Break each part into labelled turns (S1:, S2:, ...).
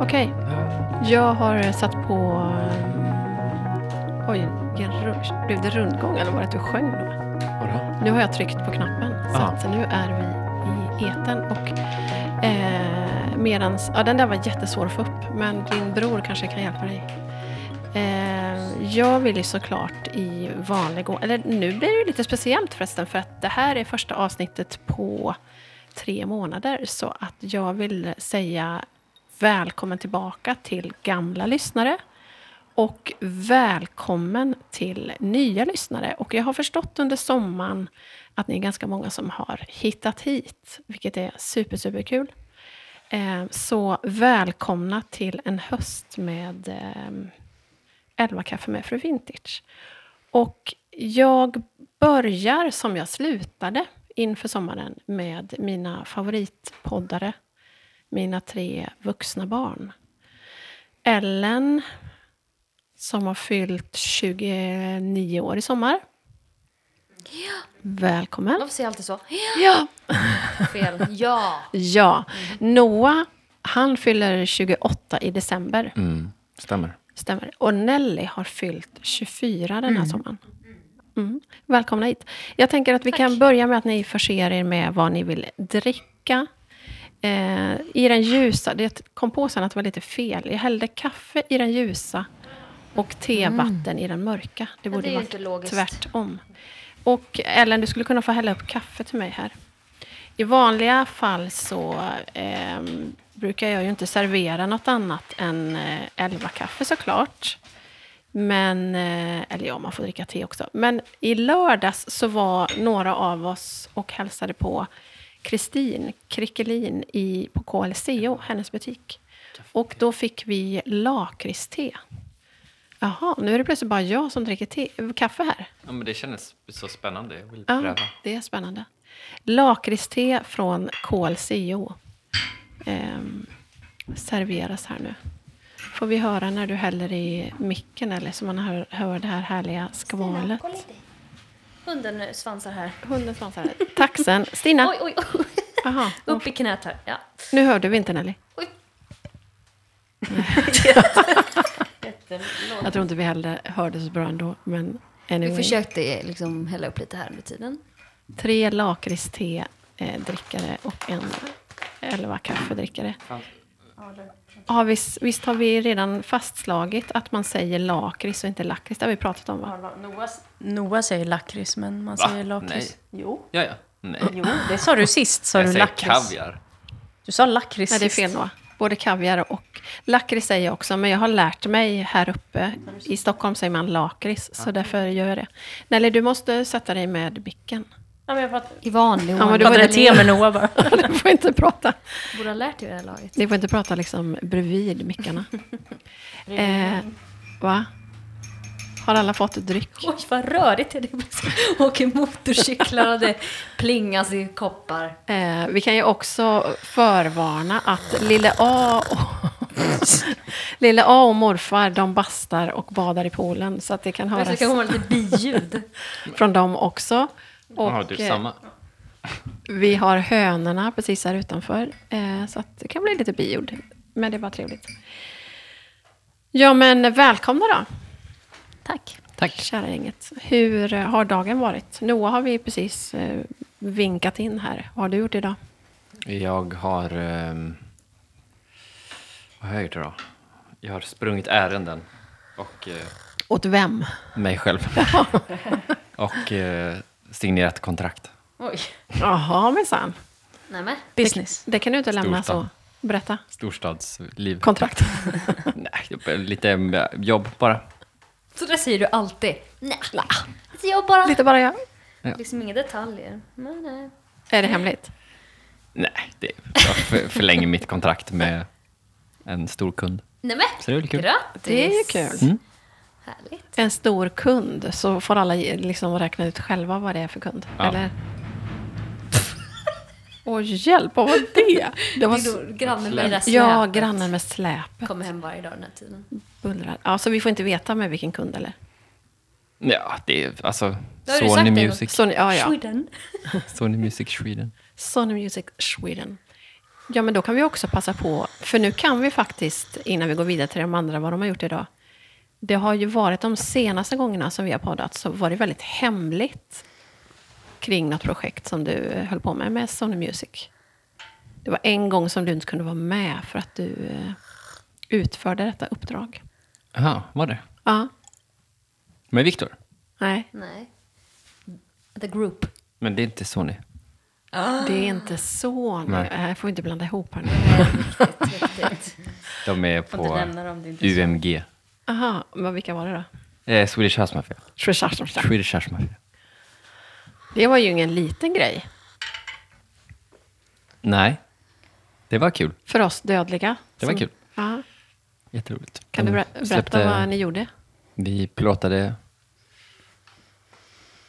S1: Okej,
S2: Ja.
S1: jag har satt på... eh, Oj, vilken ru- blev det rundgång eller var det att du sjöng då?
S2: Vadå?
S1: Nu har jag tryckt på knappen så
S2: Ah.
S1: att nu är vi i etern och eh, medans... Ja, den där var jättesvår att få upp men din bror kanske kan hjälpa dig. Eh, jag vill ju såklart i vanlig ordning... Eller nu blir det ju lite speciellt förresten för att det här är första avsnittet på tre månader så att jag vill säga välkommen tillbaka till gamla lyssnare och välkommen till nya lyssnare. Och jag har förstått under sommaren att ni är ganska många som har hittat hit, vilket är super, superkul. Eh, Så välkomna till en höst med ehm, 11 kaffe med Fru Vintage. Och jag börjar som jag slutade inför sommaren med mina favoritpoddare, mina tre vuxna barn. Ellen, som har fyllt 29 år i sommar. Välkommen.
S3: Varför säger jag alltid så?
S1: Ja.
S3: Fel. Ja.
S1: Ja.
S3: Mhm.
S1: Noah, han fyller 28 i december.
S2: Mm, stämmer.
S1: Stämmer. Och Nelly har fyllt 24 den här sommaren. Mm. Välkomna hit. Jag tänker att vi kan börja med att ni förser er med vad ni vill dricka. Eh, I den ljusa, det kom på sen att det var lite fel. Jag hällde kaffe i den ljusa och tevatten i den mörka. Det borde
S3: Mm. det är
S1: ju
S3: ju
S1: vara
S3: inte logiskt.
S1: tvärtom. Och Ellen, du skulle kunna få hälla upp kaffe till mig här. I vanliga fall så ehm, brukar jag ju inte servera något annat än eh, elva kaffe såklart. Men, eh, eller ja, man får dricka te också. Men i lördags så var några av oss och hälsade på Kristin Krickelin i, på KLCO, hennes butik. Och då fick vi lakritste. Jaha, nu är det plötsligt bara jag som dricker te, kaffe här.
S2: Ja, men det kändes så spännande. Jag vill
S1: Ja, det är spännande. Lakritste från KLCO ehm, serveras här nu. Får vi höra när du häller i micken eller så man hör, hör det här härliga skvalet.
S3: Hunden nu svansar här.
S1: Hunden svansar. här. Tack sen. Stina,
S3: Oj, oj, oj.
S1: Aha.
S3: Upp i knät här. Ja.
S1: nu hörde vi inte Nelly.
S3: Oj.
S1: Jag tror inte vi heller hörde så bra ändå. Men
S3: Vi
S1: anyway.
S3: försökte liksom hälla upp lite här under tiden.
S1: Tre lakritste-drickare och en elva kaffedrickare. Ja, visst, visst har vi redan fastslagit att man säger lakrits och inte lakrits? Det har vi pratat om, va?
S4: Noah, Noah säger lakrits, men man
S2: Va?
S4: säger
S2: Nej.
S4: lakrits. Jo.
S2: Ja, ja. Nej.
S4: Jo, det sa du sist. Sa
S2: jag
S4: du
S2: säger
S4: lakrits?
S2: kaviar.
S4: Du sa lakrits
S1: Nej, det är
S4: sist.
S1: fel Noah. Både kaviar och lakrits säger jag också, men jag har lärt mig här uppe. I Stockholm säger man lakrits, så därför gör jag det. Nelly, du måste sätta dig med bicken.
S4: Ja, men jag fattar.
S3: I vanlig
S1: men
S3: ordning.
S1: du-
S3: Du...
S1: var
S4: pratade
S1: det
S4: te med Noah bara.
S1: Du får inte prata.
S3: Borde ha lärt er det här laget.
S1: Ni får inte prata liksom bredvid mickarna. eh, va? Har alla fått dryck?
S3: Oj, vad rörigt det är. Åker motorcyklar och det plingas i koppar.
S1: Eh, vi kan ju också förvarna att lille A och, lille A och morfar, de bastar och badar i poolen. Så att det kan
S3: Men så
S1: höras
S3: kan man ha lite biljud.
S1: från dem också. Och
S2: Ja, du,
S1: eh,
S2: samma.
S1: vi har hönorna precis här utanför. Eh, så att det kan bli lite biljord. Men det var trevligt. Ja, men välkomna då.
S3: Tack.
S1: Tack. Kära gänget. Hur eh, har dagen varit? Noah har vi precis eh, vinkat in här. Vad har du gjort idag?
S2: Jag har... ehm, vad har jag gjort idag? Jag har sprungit ärenden. Och eh,
S1: Åt vem?
S2: mig själv. och eh, signerat kontrakt.
S3: Oj.
S1: Jaha, minsann.
S3: Nej, men.
S4: Business.
S1: Det kan du inte lämna
S2: Storstan.
S1: så. Berätta.
S2: Storstadsliv.
S1: Kontrakt.
S2: Nej, jag börjar lite eh, jobb bara.
S3: Så där säger du alltid. Nej. Alltså jag bara...
S1: Lite bara jag.
S3: Liksom inga detaljer. Nej, nej.
S1: Är det hemligt?
S2: Nej, det, jag för- förlänger mitt kontrakt med en stor kund.
S3: Nej men,
S2: Så det är väl kul.
S3: grattis!
S1: Det är ju kul.
S3: Härligt.
S1: En stor kund, så får alla ge- liksom räkna ut själva vad det är för kund.
S2: Ja.
S1: Eller? Åh, hjälp! Vad var det? det var
S3: Det
S1: så...
S3: är då grannen med det där släpet.
S1: Ja, grannen med släpet
S3: Kommer hem varje dag den här tiden.
S1: bullrar. Ja, så vi får inte veta med vilken kund, eller?
S2: Ja, det är alltså
S3: Då har du sagt
S2: Sony
S3: det då.
S2: Music,
S1: Sony, Ah, ja, ja.
S3: Sweden.
S2: Sony Music Sweden.
S1: Sony Music Sweden. Ja, men då kan vi också passa på, för nu kan vi faktiskt, innan vi går vidare till de andra, vad de har gjort idag. Det har ju varit de senaste gångerna som vi har poddat, så var det väldigt hemligt kring något projekt som du eh, höll på med, med Sony Music. Det var en gång som du inte kunde vara med för att du eh, utförde detta uppdrag.
S2: Jaha, var det?
S1: Ja,
S2: Med Viktor?
S1: nej,
S3: Nej. The group.
S2: Men det är inte Sony.
S1: det är inte så nu.
S2: Nej.
S1: Här får vi inte blanda ihop här nu.
S2: De är på
S4: Får inte nämna dem, det är inte så.
S2: UMG.
S1: Aha, men vilka var det då?
S2: Eh, Swedish House Mafia. Swedish House Mafia.
S1: Det var ju ingen liten grej
S2: Nej, det var kul.
S1: för oss dödliga.
S2: Det var
S1: Som-
S2: kul.
S1: Ja.
S2: Jätteroligt.
S1: Kan du
S2: De
S1: ber- berätta
S2: släppte-
S1: vad ni gjorde?
S2: Vi plåtade...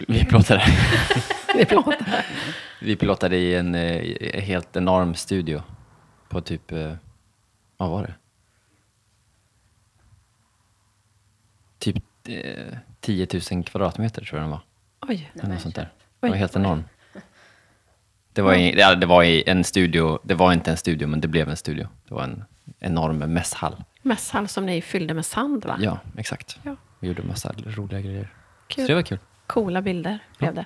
S2: Vi plåtade.
S1: Ni plåtade.
S2: vi plåtade i en eh, i- helt enorm studio på typ... eh, Vad var det? Typ eh, 10 000 kvadratmeter tror jag den var.
S1: Oj.
S2: Eller något sånt där. Det
S1: Oj.
S2: var helt enorm. Det var, i, ja, det var i en studio, det var inte en studio, men det blev en studio. Det var en enorm mässhall.
S1: Mässhall som ni fyllde med sand, va?
S2: Ja, exakt.
S1: Ja.
S2: Vi gjorde massa roliga grejer.
S1: Kul.
S2: Så det var kul.
S1: Coola bilder blev det.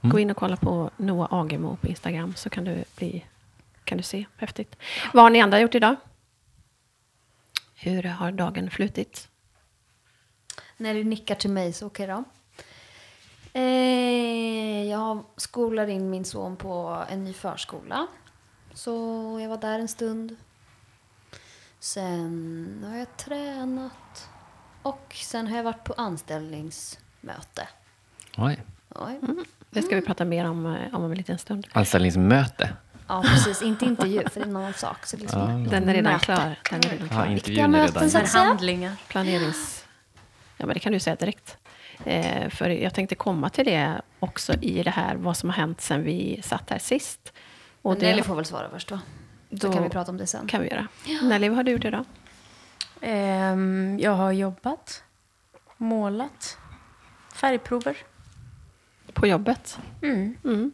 S2: Mm.
S1: Gå in och kolla på Noah Agemo på Instagram så kan du, bli, kan du se. Häftigt. Vad har ni andra gjort idag? Hur har dagen flutit?
S3: När du nickar till mig så okej då. Eh, jag skolar in min son på en ny förskola. Så jag var där en stund. Sen har jag tränat. Och sen har jag varit på anställningsmöte.
S2: Oj.
S3: Oj.
S1: Det ska vi prata mer om eh, om en liten stund.
S2: Anställningsmöte.
S3: Ja, precis. Inte intervju, för det är en annan sak. Så det är liksom
S1: Den är redan
S3: möte.
S1: klar. Den är redan
S2: Mm. Ja,
S1: klar.
S2: intervjun är
S3: möten
S2: redan
S3: sen.
S4: Förhandlingar.
S1: Planerings... Ja, men det kan du säga direkt. Eh, för jag tänkte komma till det också i det här, vad som har hänt sen vi satt här sist. Och
S3: Men Nelly får väl svara först då.
S1: Då-
S3: Så kan vi prata om det sen.
S1: kan vi göra. Nelly, vad har du gjort idag?
S4: Ehm, jag har jobbat, målat, färgprover
S1: På jobbet? Mm.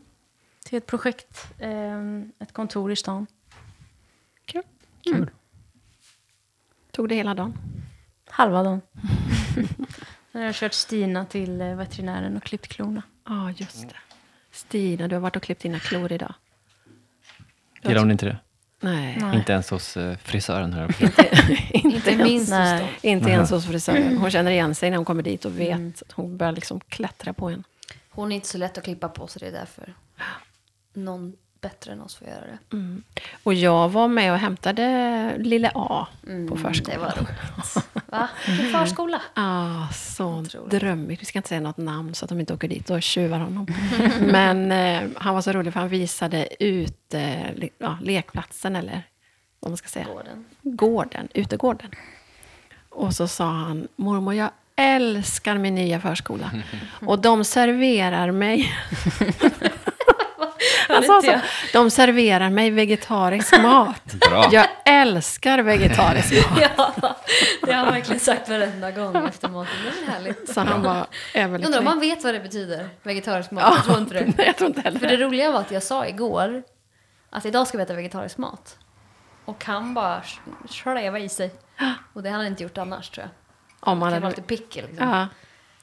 S4: till ett projekt, ehm, ett kontor i stan.
S1: Kul. Mm. Tog det hela dagen?
S4: Halva dagen. Sen har jag kört Stina till eh, veterinären och klippt klorna.
S1: Ja, just det. Stina, du har varit och klippt dina klor idag.
S2: Gillar hon inte det?
S1: Nej,
S4: Nej.
S2: Inte ens hos eh, frisören här uppe.
S3: Inte minst hos
S4: Nej.
S3: dem.
S1: inte ens hos frisören. Hon känner igen sig när hon kommer dit och
S3: Mm.
S1: vet. Hon börjar liksom klättra på en.
S3: Hon är inte så lätt att klippa på så det är därför någon bättre än oss får göra det.
S1: Mm. Och jag var med och hämtade lille A Mm, på
S3: Mm, Det
S1: förskolan. Mm.
S3: var roligt. Va? Vilken förskola.
S1: Ah, så
S3: Otroligt.
S1: drömmigt. Vi ska inte säga något namn så att de inte åker dit och tjuvar honom. Men eh, han var så rolig för han visade ut eh, le- ja, lekplatsen eller vad man ska säga.
S3: Gården.
S1: Gården, utegården. Och så sa han, mormor jag älskar min nya förskola. Och de serverar mig han sa så, de serverar mig vegetarisk mat.
S2: Bra.
S1: Jag älskar vegetarisk mat.
S3: Ja, det har han verkligen sagt varenda gång efter maten. Det är väl härligt.
S1: Så han var
S3: Jag undrar om
S1: överlycklig.
S3: man vet vad det betyder, vegetarisk mat. Jag tror inte det.
S1: Nej, jag tror inte heller
S3: För det roliga var att jag sa igår att idag ska vi äta vegetarisk mat. Och han bara sh- slävade i sig. Och det hade han inte gjort annars tror jag.
S1: Om man
S3: Det var
S1: hade...
S3: lite picky liksom.
S1: Ja,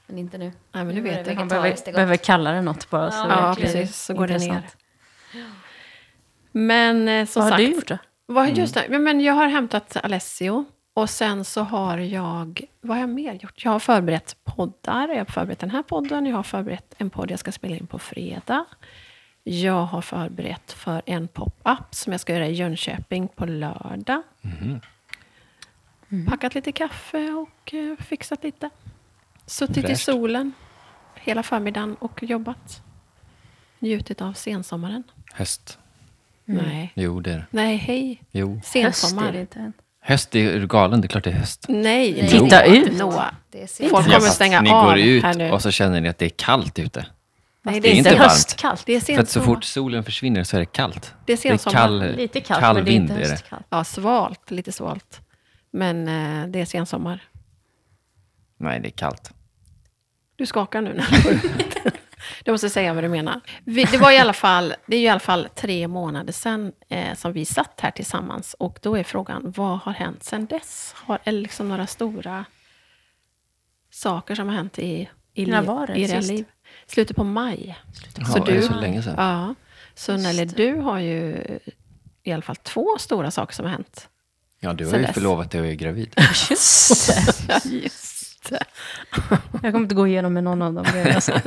S3: Men inte nu.
S1: nej, men du
S3: Nu är
S1: vet
S3: det
S1: det.
S4: Han
S3: Vegetariskt
S4: behöver,
S3: är gott.
S4: behöver kalla det något bara. Så
S3: Ja,
S1: Ja,
S4: verkligen
S1: precis. Så går det ner.
S4: intressant.
S1: Men eh, som
S4: Vad har
S1: sagt...
S4: du gjort då?
S1: Vad, just det, men jag har hämtat Alessio. Och sen så har jag... Vad har jag mer gjort? Jag har förberett poddar. Jag har förberett den här podden. Jag har förberett en podd jag ska spela in på fredag. Jag har förberett för en pop-up som jag ska göra i Jönköping på lördag.
S4: Mm.
S1: Packat lite kaffe och eh, fixat lite. Suttit i
S2: Fräscht.
S1: solen hela förmiddagen och jobbat. Njutit av sensommaren.
S2: Höst.
S1: Nej.
S2: Jo, det är det.
S1: Nej, hej.
S2: Jo.
S1: Sensommar.
S4: Mm. Höst är det inte än.
S2: Höst är du galen, det är klart det är höst.
S1: Nej,
S3: Nej.
S4: Titta ut.
S1: Noah.
S3: Det är sent.
S1: Folk
S2: Ja,
S1: kommer
S2: fast
S1: stänga
S2: ni
S1: av
S2: går ut
S1: här nu.
S2: och så känner ni att det är kallt ute.
S1: Nej,
S2: det är inte varmt.
S4: höstkallt.
S1: Det är
S2: För att så
S1: sensommar.
S2: fort solen försvinner så är det kallt.
S1: Det är sensommar.
S2: kall,
S4: Lite kallt,
S2: kall
S4: men det är
S2: vind
S4: inte
S2: är det.
S4: höstkallt.
S1: Ja, svalt. Lite svalt. Men eh, det är sensommar.
S2: Nej, det är kallt.
S1: Du skakar nu. när du går ut. Du måste säga vad du menar. Vi, det, var i alla fall, det är ju i alla fall tre månader sedan eh, som vi satt här tillsammans. Och då är frågan, vad har hänt sedan dess? Har, är det liksom några stora saker som har hänt i, i,
S5: När
S1: liv,
S5: var det
S1: i era
S5: sist?
S1: liv? Slutet på maj.
S2: Ja,
S1: Så
S2: är det
S1: du-
S2: så länge sedan?
S1: Ja. Så
S5: Just
S1: Nelly,
S5: det.
S1: du har ju i alla fall två stora saker som har hänt.
S2: Ja, du har
S1: Sen
S2: ju
S1: dess.
S2: förlovat dig och är gravid.
S5: Just det.
S1: Just det.
S5: Jag kommer inte gå igenom med någon av dem. grejerna, alltså.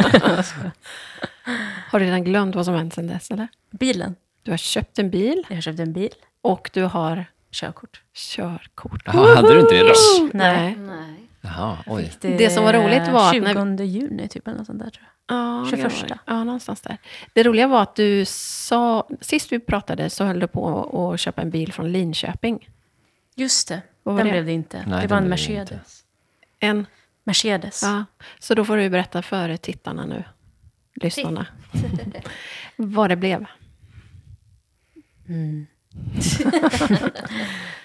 S1: Har du redan glömt vad som har hänt sedan dess? Eller?
S5: Bilen.
S1: Du har köpt en bil
S5: Jag köpte en bil.
S1: och du har
S5: Körkort.
S1: körkort.
S2: Jaha, hade du inte det då?
S5: Nej.
S3: Nej.
S2: Jaha, oj.
S1: Det som var roligt var att när-
S5: 20 juni typ eller något sånt där tror jag.
S1: Ja,
S5: 21.
S1: ja, Ja, någonstans där. Det roliga var att du sa, sist vi pratade så höll du på att köpa en bil från Linköping.
S5: Just det.
S1: Vad
S5: Den
S1: var det?
S5: blev det inte.
S2: Nej,
S5: det
S2: den
S5: var en
S2: blev det inte.
S5: Mercedes.
S1: En,
S5: Mercedes.
S1: ja. Så då får du berätta för tittarna nu, lyssnarna, vad det blev.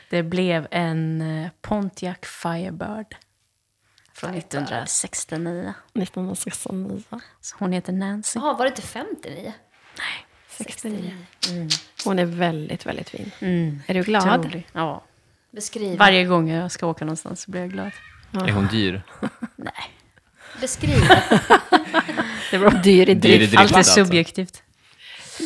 S5: Det blev en eh, Pontiac Firebird. Från 1969.
S1: 1969.
S5: Så hon heter Nancy.
S3: Jaha, var det inte 59?
S1: 69.
S5: Mm.
S1: Hon är väldigt, väldigt fin. Är du glad?
S5: Otrolig. Ja.
S3: Beskriv,
S5: Varje gång jag ska åka någonstans så blir jag glad.
S2: Är hon dyr?
S5: Nej.
S3: beskriv.
S5: Det var
S1: Dyr i
S2: Dyr i
S1: drift.
S2: drift,
S5: Allt är
S2: alltså.
S5: subjektivt.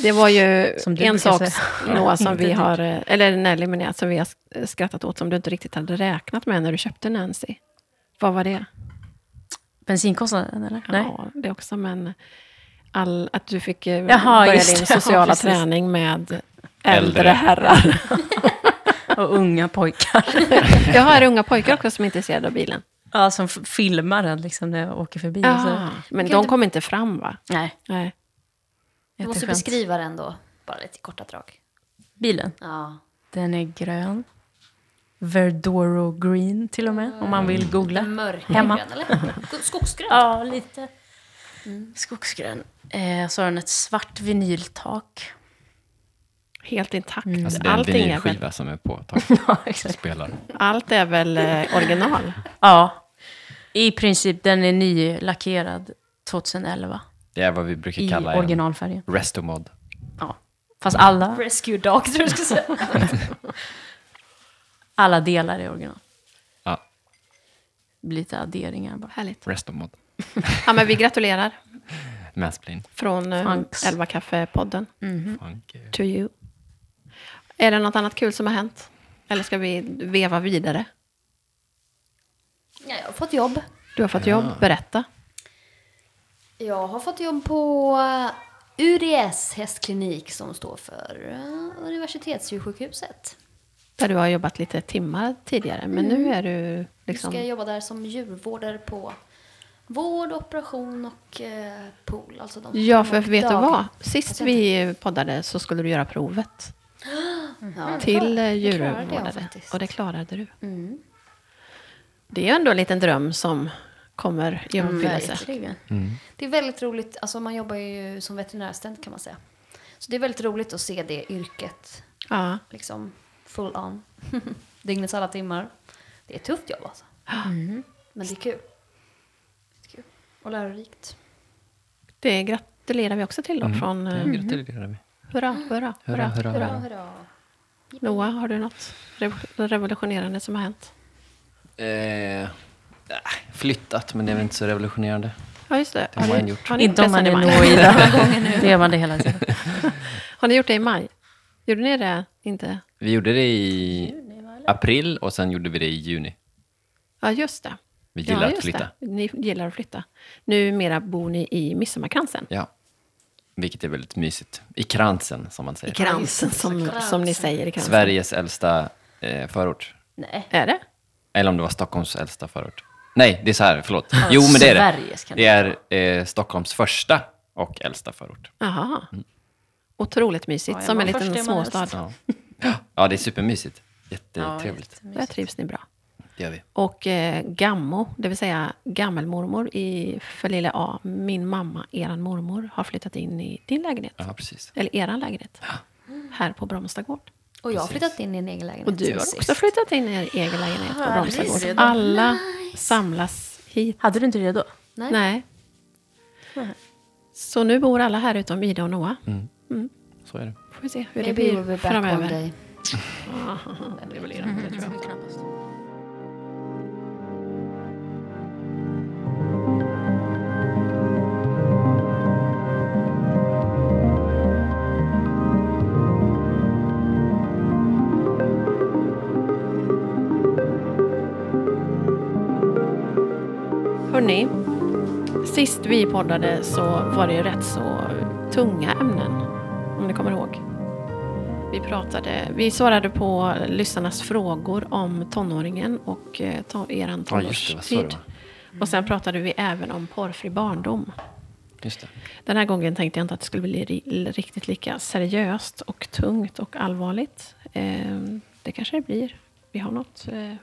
S1: Det var ju
S5: Som du
S1: en
S5: brukar
S1: sak
S5: säga. Mm.
S1: Noah, som
S5: Inte
S1: vi
S5: dyrt.
S1: har, eh, eller Nelly menar jag, som vi har skrattat åt som du inte riktigt hade räknat med när du köpte Nancy. Vad var det?
S5: Bensinkostnaden eller? Nej.
S1: Ja, det också, men all, att du fick eh,
S5: Jaha,
S1: börja
S5: just
S1: din
S5: det. Ja,
S1: sociala
S5: precis.
S1: träning med äldre,
S2: Äldre.
S1: herrar.
S5: Och unga pojkar.
S1: Jag har unga pojkar också som är intresserade av bilen.
S5: ja, som f- filmar den liksom när jag åker förbi.
S1: Ah,
S5: Så.
S1: men
S3: Kan
S1: de
S3: inte-
S1: kom inte fram, va?
S5: Nej.
S1: Nej.
S3: Du måste
S5: jätteskönt.
S3: beskriva den då, bara lite i korta drag.
S5: Bilen.
S3: Ja.
S5: Den är grön. Verdoro green till och med, om man vill googla. Hemma.
S3: Mörkgrön eller? Skogsgrön?
S5: Ja, lite. Mm. Skogsgrön. Eh, så har den ett svart vinyltak.
S1: Helt intakt.
S2: Alltså det är en
S1: Allting är väl,
S2: vinylskiva som är på tak
S5: ja, exakt.
S2: spelar.
S1: allt är väl eh, original?
S5: Ja. I princip, den är nylackerad 2011.
S2: Det är vad vi brukar
S5: I
S2: kalla en
S5: originalfärgen.
S2: restomod.
S5: Ja. Fast alla,
S3: Rescue dog tror jag du skulle säga.
S5: alla delar är original.
S2: Ja,
S5: Lite adderingar bara.
S1: Härligt.
S2: restomod.
S1: Ja, men vi gratulerar
S2: Mansplain.
S1: från eh,
S5: Thanks.
S1: Elva Kaffe-podden.
S2: Funk.
S1: To you. Är det något annat kul som har hänt? Eller ska vi veva vidare?
S3: Ja, jag har fått jobb.
S1: Du har fått jobb, berätta.
S3: Jag har fått jobb på eh, UDS hästklinik som står för eh, Universitetsdjursjukhuset.
S1: Där du har jobbat lite timmar tidigare, men nu är du liksom...
S3: Nu Mm. ska jag jobba där som djurvårdare på vård, operation och eh, pool. Alltså de
S1: Ja, för vet du
S3: dag-
S1: vad? Sist
S3: Alltså,
S1: vi poddade så skulle du göra provet
S3: Ja,
S1: till eh,
S3: det klarade Mm. jag
S1: djurvårdare.
S3: faktiskt.
S1: Och det klarade du.
S3: Mm.
S1: Det är ju ändå en liten dröm som kommer i
S3: Mm,
S1: uppfyllelse.
S5: Verkligen.
S3: Det är väldigt roligt, alltså man jobbar ju som veterinärassistent kan man säga. Så det är väldigt roligt att se det yrket
S1: ja.
S3: liksom full on. Dygnets alla timmar. Det är ett tufft jobb alltså. Men det är kul. Det är kul. Och lärorikt.
S1: Det gratulerar vi också till då från... eh,
S2: Det gratulerar vi.
S1: Hurra,
S5: Mm.
S1: hurra,
S2: Hurra,
S1: hurra.
S2: hurra,
S3: Hurra,
S2: hurra.
S3: hurra.
S1: Noah, har du något rev- revolutionerande som har hänt?
S2: Eh, äh, flyttat, men det är väl inte så revolutionerande.
S1: Ja, just det.
S2: Det har man gjort.
S1: har ni
S5: Inte om man är
S1: förresten i maj?
S5: Noida. Det gör man det hela tiden.
S1: Har ni gjort det i maj? Gjorde ni det inte?
S2: Vi gjorde det i april och sen gjorde vi det i juni.
S1: Ja, just det.
S2: Vi gillar
S1: ja,
S2: att
S1: just
S2: flytta.
S1: Det. Ni gillar att flytta. Numera bor ni i Midsommarkransen.
S2: Ja. Vilket är väldigt mysigt. I kransen, som man säger.
S1: Kransen, som, som ni säger i kransen.
S2: Sveriges äldsta eh, förort.
S5: Nej.
S1: Är det?
S2: Eller om det var Stockholms äldsta förort. Nej, det är så här, förlåt. Jo, men det är det.
S5: Sveriges kan
S2: Det är eh, Stockholms första och äldsta förort.
S1: Jaha. Otroligt mysigt,
S5: Ja, ja,
S1: som en
S5: man först
S1: liten
S5: är man äldst.
S1: småstad.
S2: Mm. Ja, ja det är supermysigt. Jättetrevligt.
S1: Där trivs ni bra.
S2: Det gör vi.
S1: Och eh, gammo, det vill säga gammelmormor i, för lilla A, min mamma, eran mormor, har flyttat in i din lägenhet.
S2: Ja, precis.
S1: Eller eran lägenhet. Här på Bromstagård.
S3: Och jag har
S2: Precis.
S3: flyttat in i en egen lägenhet.
S1: Och du har
S3: sen
S1: också
S3: sist.
S1: flyttat in i er egen lägenhet på
S5: Ja,
S1: Bromstagård.
S5: precis.
S1: Alla samlas hit.
S5: Hade du inte det då?
S3: Nej.
S1: Nej. Så nu bor alla här utom Ida och Noah.
S2: Mm.
S1: Mm.
S2: Så är det.
S1: Får vi se hur det
S5: Maybe
S1: blir
S5: we'll be back one
S1: framöver.
S5: day. Mm.
S1: Ja, det blir väl i det, tror jag.
S4: Knappast.
S1: Hörni, sist vi poddade så var det ju rätt så tunga ämnen, om ni kommer ihåg. Vi, pratade, vi svarade på lyssnarnas frågor om tonåringen och eh, to- eran
S2: Ja, just det, vad sa du,
S1: tonårstid. Och sen pratade vi även om porrfri barndom.
S2: Just det.
S1: Den här gången tänkte jag inte att det skulle bli ri- riktigt lika seriöst och tungt och allvarligt. Eh, Det kanske det blir. Vi har något eh,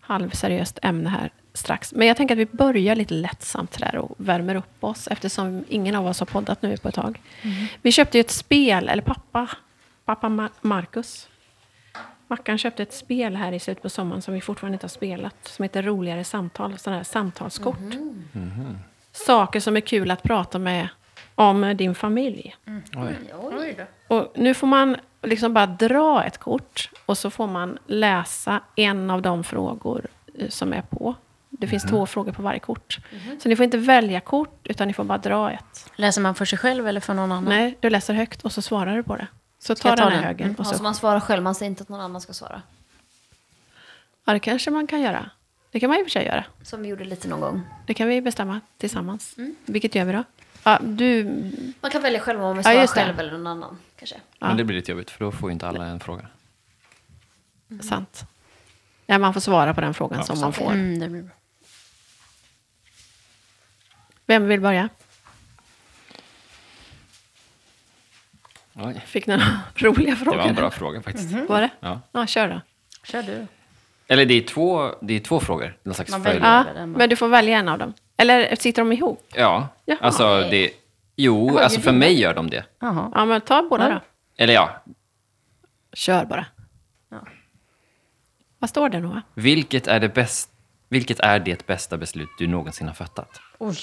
S1: halvseriöst ämne här strax. Men jag tänker att vi börjar lite lättsamt där och värmer upp oss eftersom ingen av oss har poddat nu på ett tag. Vi köpte ju ett spel, eller pappa, pappa Ma- Marcus. Mackan köpte ett spel här i slutet på sommaren som vi fortfarande inte har spelat. Som heter Roligare samtal, sådana här samtalskort saker som är kul att prata med om din familj.
S2: Oj.
S3: Oj då.
S1: Och nu får man liksom bara dra ett kort och så får man läsa en av de frågor eh, som är på. Det finns två frågor på varje kort.
S4: Mhm.
S1: Så ni får inte välja kort, utan ni får bara dra ett.
S4: Läser man för sig själv eller för någon annan?
S1: Nej, du läser högt och så svarar du på det. Så ta
S4: Mm. jag ta
S1: den här
S4: den? Mm,
S1: högen. Och
S3: Alltså
S1: så.
S3: man svarar själv, man säger inte att någon annan ska svara.
S1: Ja, det kanske man kan göra. Det kan man i och för sig göra.
S3: Som vi gjorde lite någon gång.
S1: Det kan vi bestämma tillsammans.
S4: Mm.
S1: Vilket gör vi då? Ja, du...
S3: Man kan välja själv om man vill
S1: Ja,
S3: svara
S1: just det.
S3: själv eller någon annan. Kanske.
S2: Men det blir lite jobbigt för då får ju inte alla en fråga.
S1: Sant. Ja, man får svara på den frågan som man
S3: okej.
S1: får.
S4: Mm, det blir bra.
S1: Vem vill börja?
S2: Oj.
S1: Fick några roliga
S2: Det
S1: frågor?
S2: var en bra fråga faktiskt.
S1: Var det?
S2: Ja.
S1: Ja, kör då.
S4: Kör du.
S2: Eller det är två, det är två frågor. Någon slags
S4: Man väljer.
S2: följd.
S1: Ja,
S4: Eller den bara.
S1: men du får välja en av dem. Eller sitter de ihop?
S2: Ja.
S1: Jaha.
S2: Alltså det... Jo, alltså för mig gör de det.
S4: Jaha.
S1: Ja, men ta båda
S4: Ja.
S1: då.
S2: Eller ja,
S1: Kör bara.
S4: Ja.
S1: Vad står det, Noah?
S2: vilket är det bäst... Vilket är det bästa beslut du någonsin har fattat?
S4: Oj.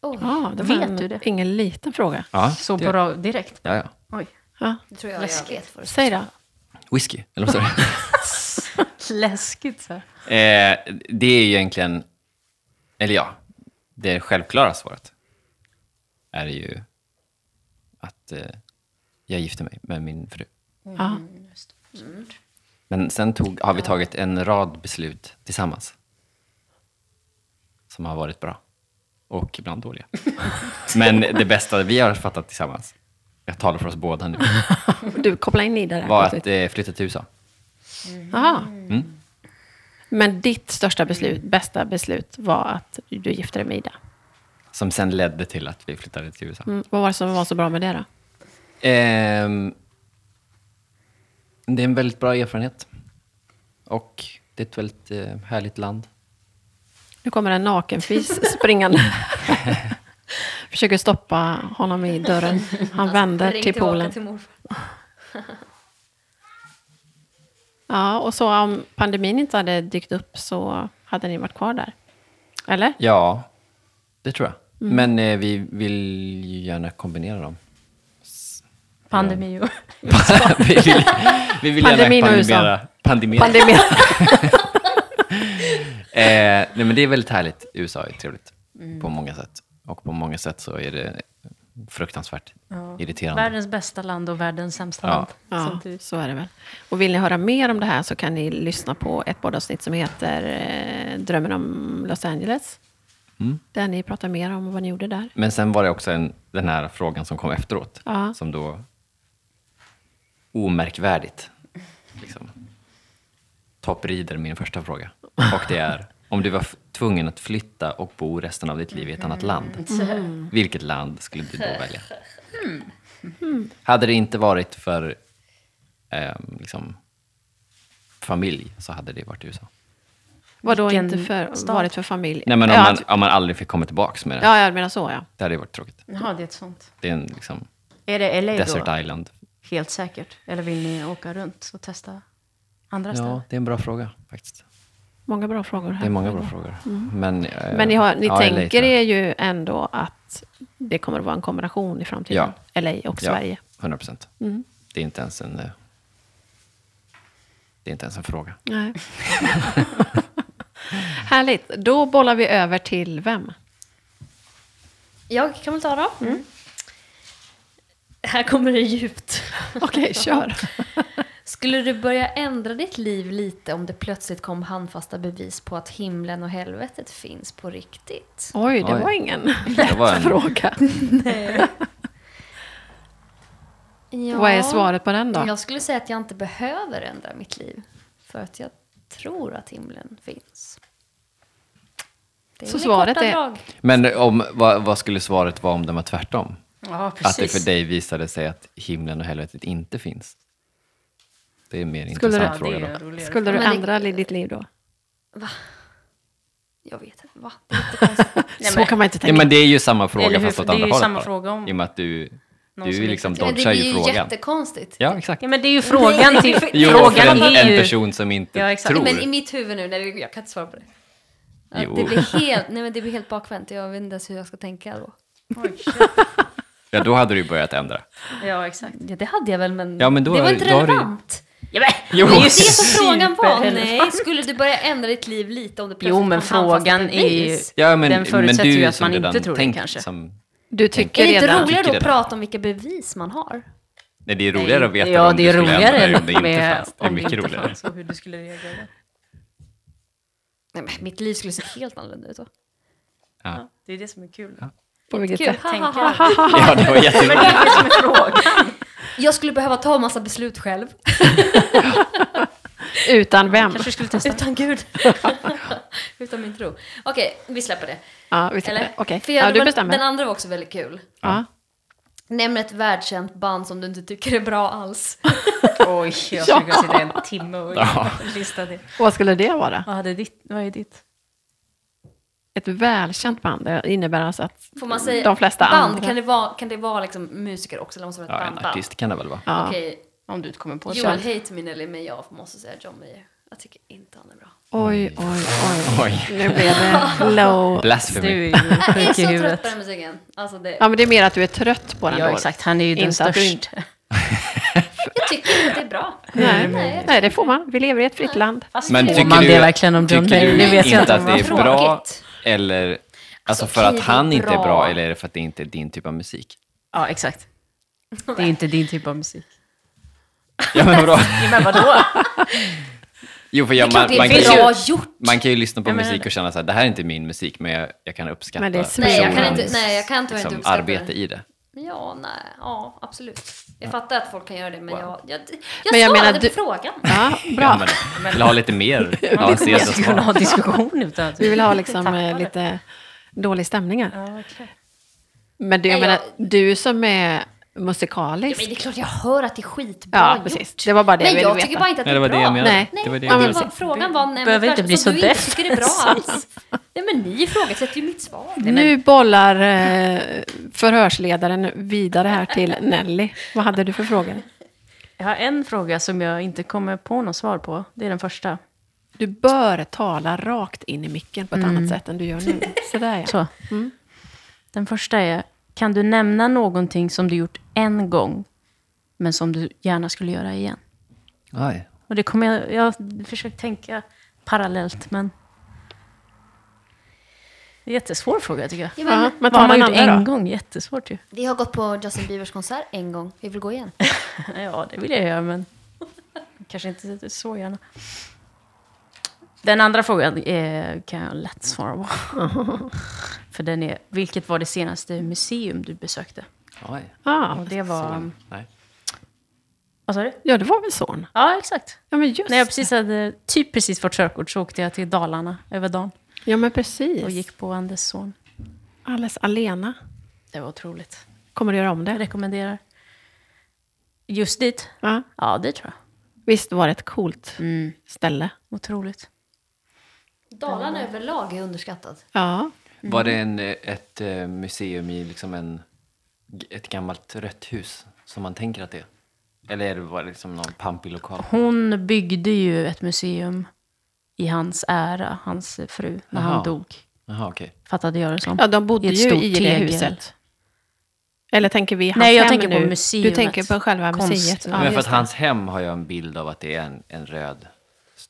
S3: Oh,
S1: Ja, det
S4: Vet
S1: en-
S4: du det?
S1: Ingen liten fråga.
S2: Ja,
S4: Så
S2: det-
S4: på ra- direkt.
S2: Ja, ja.
S4: Oj.
S1: Ja.
S3: det tror jag
S4: Läskigt.
S3: jag vet vad det
S1: Säg då.
S2: Whisky, eller vad sa du?
S4: Läskigt. Så. här.
S2: Eh, det är ju egentligen, eller ja, det självklara svaret är ju att eh, jag gifte mig med min fru.
S1: Ja.
S2: Men sen tog, har vi tagit en rad beslut tillsammans. Som har varit bra. Och ibland dåliga. Men det bästa vi har fattat tillsammans, jag talar för oss båda nu,
S4: Mm.
S1: Du, koppla in Ida där.
S2: var att eh, flytta till USA.
S1: Aha.
S2: Mm.
S1: Men ditt största beslut, bästa beslut var att du gifte dig med Ida.
S2: Som sen ledde till att vi flyttade till USA.
S1: Mm. Vad var det som var så bra med det då?
S2: Ehm, det är en väldigt bra erfarenhet. Och det är ett väldigt eh, härligt land.
S1: Nu kommer en nakenfis springande. Försöker stoppa honom i dörren. Han vänder
S3: Alltså, Ring
S1: till
S3: tillbaka
S1: poolen.
S3: till morfar.
S1: Ja, och så om pandemin inte hade dykt upp så hade ni varit kvar där? Eller?
S2: Ja, det tror jag.
S1: Mm.
S2: Men eh, vi vill ju gärna kombinera dem.
S4: Pandemi och...
S2: vi vill, vi vill gärna
S1: Pandemin och USA.
S2: pandemera. Pandemera.
S1: Pandemin.
S2: Eh, nej, men det är väldigt härligt. USA är trevligt
S1: Mm.
S2: på många sätt. Och på många sätt så är det fruktansvärt irriterande.
S4: Världens bästa land och världens sämsta
S2: Ja.
S4: land.
S1: Ja,
S4: Samtidigt.
S1: så är det väl. Och vill ni höra mer om det här så kan ni lyssna på ett poddavsnitt som heter eh, Drömmen om Los Angeles.
S2: Mm.
S1: Där ni pratar mer om vad ni gjorde där.
S2: Men sen var det också en, den här frågan som kom efteråt.
S1: Ja.
S2: Som då... Omärkvärdigt. Liksom. Topprider min första fråga. Och det är, om du var f- tvungen att flytta och bo resten av ditt liv i ett annat land.
S1: Mm.
S2: Vilket land skulle du då välja? Hade det inte varit för ehm, liksom, familj så hade det varit USA.
S1: Vad då
S4: Vilken
S1: inte för,
S4: stad?
S1: varit för familj?
S2: Nej, men om,
S1: ja,
S2: man,
S1: att-
S2: om man aldrig fick komma tillbaka med det.
S1: ja, jag menar så ja.
S2: Det hade ju varit tråkigt.
S4: Jaha, det är ett sånt.
S2: Det är en liksom,
S4: Är det LA då?
S2: desert island
S4: Helt säkert. Eller vill ni åka runt och testa andra
S2: Ja,
S4: ställen?
S2: det är en bra fråga faktiskt.
S1: Många bra frågor. Här
S2: Det är många bra frågor.
S5: Mm.
S2: Men, eh,
S1: Men ni, har, ni
S2: ja,
S1: tänker
S2: LA,
S1: er ju ändå att det kommer att vara en kombination i framtiden? LA och
S2: Ja.
S1: Sverige?
S2: 100 procent.
S5: Mm.
S2: Det är inte ens en... eh, Det är inte ens en fråga.
S1: Nej. Härligt. Då bollar vi över till vem?
S3: Jag kan väl ta då.
S1: Mm.
S3: Här kommer det djupt.
S1: Okej, kör.
S3: Skulle du börja ändra ditt liv lite om det plötsligt kom handfasta bevis på att himlen och helvetet finns på riktigt?
S1: Oj, det
S2: Oj.
S1: var ingen
S2: Det var en-
S1: fråga.
S3: Ja.
S1: Vad är svaret på den då?
S3: Jag skulle säga att jag inte behöver ändra mitt liv. För att jag tror att himlen finns. Det är
S1: Så
S3: väl i
S1: svaret
S3: korta
S1: är-
S3: drag.
S2: Men om, vad, vad skulle svaret vara om den var tvärtom?
S5: Ja,
S2: Att det
S5: precis.
S2: för dig visade sig att himlen och helvetet inte finns? Det är en mer
S1: Skulle
S2: intressant
S1: det-
S2: fråga
S5: Ja, det
S2: då.
S5: är roligare.
S1: Skulle du
S3: Men det-
S1: ändra i ditt liv då?
S3: Jag vet inte, va? Det är jättekonstigt.
S1: Så kan man inte
S2: Ja,
S1: tänka.
S2: men det är ju samma
S5: Eller
S2: fråga
S5: hur?
S2: fast åt
S5: Det är
S2: andra
S5: ju
S2: hållet
S5: samma
S2: bara.
S5: fråga om-
S2: I och med att du,
S5: Någon
S2: du
S5: som
S2: liksom
S5: inte-
S3: Men det
S2: dodgar ju
S3: blir ju
S2: frågan.
S3: jättekonstigt.
S2: Ja, exakt.
S5: Ja, men det är ju frågan till...
S2: Jo, för
S5: frågan
S2: en,
S5: är
S2: en
S5: ju...
S2: person som inte
S5: Ja, exakt.
S2: tror.
S3: Men i mitt huvud nu, nej, jag kan inte svara på det. Att
S2: Jo.
S3: Det blir helt, nej men det blir helt bakvänt. Jag vet inte ens hur jag ska tänka då.
S5: Oj, shit.
S2: Ja, då hade du ju börjat ändra.
S5: Ja, exakt.
S3: Ja, det hade jag väl, men,
S2: Ja, men då
S3: det var
S2: är-
S3: inte
S2: då har du-
S3: relevant.
S5: Ja, men,
S2: Jo.
S5: det är ju
S2: Det är
S3: Det som frågan var,
S5: superhelvete.
S3: nej, skulle du börja ändra ditt liv lite om det plötsligt
S5: Jo, men
S3: kom handfasta
S5: frågan är ju-
S3: bevis?
S2: Ja, men,
S5: Den förutsätter
S2: men du
S5: ju
S2: är
S5: att
S2: som
S5: man
S2: redan
S5: inte tror det,
S2: tänkt
S5: kanske.
S2: Som,
S1: Du tycker
S3: Är det inte
S1: redan...
S3: roligare då
S2: Tycker
S3: att
S2: redan.
S3: prata om vilka bevis man har?
S2: nej, det är roligare att veta
S5: ja,
S2: om
S5: det är
S2: du skulle ändra dig
S5: roligare
S2: om det inte
S5: med-
S2: fanns. Det är
S5: om det
S2: mycket
S5: inte
S2: roligare.
S5: fanns och Alltså, hur du skulle reagera.
S3: Nej, men mitt liv skulle se helt annorlunda ut då.
S2: Ja.
S5: Det är det som är kul.
S1: På vilket
S3: Kul.
S1: sätt?
S3: Ha, ha,
S5: tänker
S3: ha, ha.
S5: jag.
S2: ja, det var jätteroligt.
S3: Jag skulle behöva ta massa beslut själv.
S1: Utan vem?
S5: Kanske skulle testa.
S3: Utan Gud. Utan min tro. Okej, vi släpper det.
S1: Ja, vi
S3: Eller?
S1: Eller? Okej,
S3: För
S1: ja,
S3: jag-
S1: du
S3: men
S1: bestämmer.
S3: Den andra var också väldigt kul.
S1: Ja.
S3: Nämn ett världskänt band som du inte tycker är bra alls.
S5: Oj, jag skulle kunna sitta i en timme och lista det.
S1: Vad skulle det vara?
S5: Vad, hade ditt, vad är ditt?
S1: Ett välkänt band det innebär alltså att
S3: Får man säga
S1: de flesta
S3: band?
S1: andra...
S3: Kan det vara, kan det vara liksom musiker också? Eller måste det vara
S2: Ja,
S3: ett
S2: en
S3: band? band?
S2: artist kan det väl vara.
S1: Ja.
S3: Okej,
S5: Om du inte kommer på
S3: Joel Hatemin eller men jag måste säga John Mayer. Jag tycker inte han är bra.
S1: Oj, oj, oj.
S2: Oj,
S1: Nu blev det low.
S5: Du är
S2: blasphemy.
S5: ju
S3: Jag är
S5: sjuk
S3: så
S5: i
S3: trött
S5: huvudet.
S3: på den musiken. Alltså det,
S1: Ja, men det är mer att du är trött på den
S5: Ja,
S1: då.
S5: exakt. Han är ju den
S1: Inte att du
S5: största.
S3: Jag tycker inte det är bra. Alltså,
S1: Nej.
S3: Nej.
S1: Nej, det får man. Vi lever i ett fritt land.
S2: Men tycker
S5: man
S2: du,
S5: det verkligen om John
S2: tycker
S5: Mayer?
S2: du
S5: Nu vet jag
S2: inte
S5: inte
S2: att
S5: om
S2: det
S5: man
S2: är
S3: får.
S2: bra
S3: Tråkigt.
S2: eller alltså, för
S3: okej,
S2: att han
S3: det är
S2: inte är
S3: bra.
S2: bra eller är det för att det inte är din typ av musik?
S5: Ja, exakt. Det är inte din typ av musik.
S2: Ja, men vadå?
S5: Men vadå?
S2: Jo, för
S3: Det är
S2: jag,
S3: klart
S2: man,
S3: det
S2: man,
S3: är
S2: kan ju,
S3: bra gjort.
S2: man kan ju lyssna på
S5: Jag menar
S2: musik och känna så här, det här är inte min musik, men jag, jag kan uppskatta
S1: Men det är svårt.
S3: Nej, jag kan
S2: personens,
S3: inte- nej, jag kan inte vara inte
S2: liksom,
S3: uppskattad.
S2: arbete i det.
S3: Ja, nej, ja, absolut. Jag fattar att folk kan göra det, men jag, jag, jag,
S1: Men jag
S3: svarade
S1: menar, du-
S3: på frågan.
S1: Ja,
S2: Ja,
S1: bra.
S2: men, vill ha lite mer? Ja,
S5: Vi
S2: ses och
S5: skulle kunna
S2: svar.
S5: ha diskussion utan att
S1: Vi vill ha liksom eh, lite dålig stämning här.
S5: Ja, okej.
S1: Men du, jag
S3: Nej,
S1: menar,
S3: jag-
S1: du som är
S3: Ja, men
S1: musikalisk.
S3: det är klart jag hör att det är skitbra
S1: Ja,
S3: gjort.
S1: precis. Det var bara det
S3: men
S1: jag ville
S3: jag
S1: veta.
S3: tycker bara inte att
S2: Nej,
S3: det är
S2: det var det
S3: bra.
S2: jag menade.
S1: Nej.
S3: Nej,
S2: Det var det
S1: Ja,
S2: jag
S1: men
S3: men
S2: menade.
S1: precis.
S3: var, frågan var... Nej,
S5: Behöver
S3: men
S5: inte
S3: värst-
S5: bli så
S3: du
S5: deff.
S3: inte tycker det är bra alls. Nej, men ni ifrågasätter ju mitt svar.
S1: Nu bollar eh, förhörsledaren vidare här till Nelly. Vad hade du för frågor?
S5: Jag har en fråga som jag inte kommer på något svar på. Det är den första.
S1: Du bör tala rakt in i micken på ett annat sätt än du gör nu. Sådär ja.
S5: Mm. Så. Den första är, kan du nämna någonting som du gjort en gång, men som du gärna skulle göra igen?
S2: Oj.
S5: Och det kommer jag, jag har försökt tänka parallellt, men... Det är en jättesvår fråga tycker jag.
S3: Ja, men,
S1: Ja, men
S5: Vad har
S1: ta
S5: man
S1: den
S5: gjort en
S1: andra då.
S5: gång? Jättesvårt ju.
S3: Vi har gått på Justin Biebers konsert en gång. Vi vill gå igen.
S5: Ja, det vill jag göra, men kanske inte så gärna. Den andra frågan är, kan jag lätt svara på. För den är, vilket var det senaste museum du besökte?
S2: Oj.
S1: Ja,
S5: Och det var...
S2: Så, nej.
S5: Vad sa du?
S1: ja, det var väl son.
S5: Ja, exakt.
S1: Ja, men just.
S5: När jag precis hade, typ precis fått körkort så åkte jag till Dalarna över dagen
S1: Ja, men
S5: och
S1: precis.
S5: gick på Anders son.
S1: Alldeles alena.
S5: Det var otroligt.
S1: Kommer du göra om
S5: Jag
S1: det?
S5: rekommenderar. Just dit?
S1: Ja.
S5: Ja, det tror jag.
S1: Visst var det ett coolt ställe?
S5: Otroligt.
S3: Dalarna överlag är underskattat.
S1: Ja.
S2: Var det en, eh, ett eh, museum i liksom en, g- ett gammalt rött hus som man tänker att det är? Eller är det- var det liksom någon pampig lokal?
S5: Hon byggde ju ett museum i hans ära, hans fru, när
S2: Jaha.
S5: han dog.
S2: Jaha, okej.
S5: Fattade jag det som.
S1: Ja, de bodde
S5: I ett
S1: ju
S5: stort
S1: i det
S5: tegel.
S1: huset. Eller tänker vi hans
S5: Nej, jag
S1: hem
S5: tänker
S1: nu?
S5: på museet.
S1: Du tänker på själva
S5: Konst.
S1: museet?
S5: Ja,
S2: Men för
S1: just
S2: att
S1: det.
S2: hans hem har jag en bild av att det är en, en röd...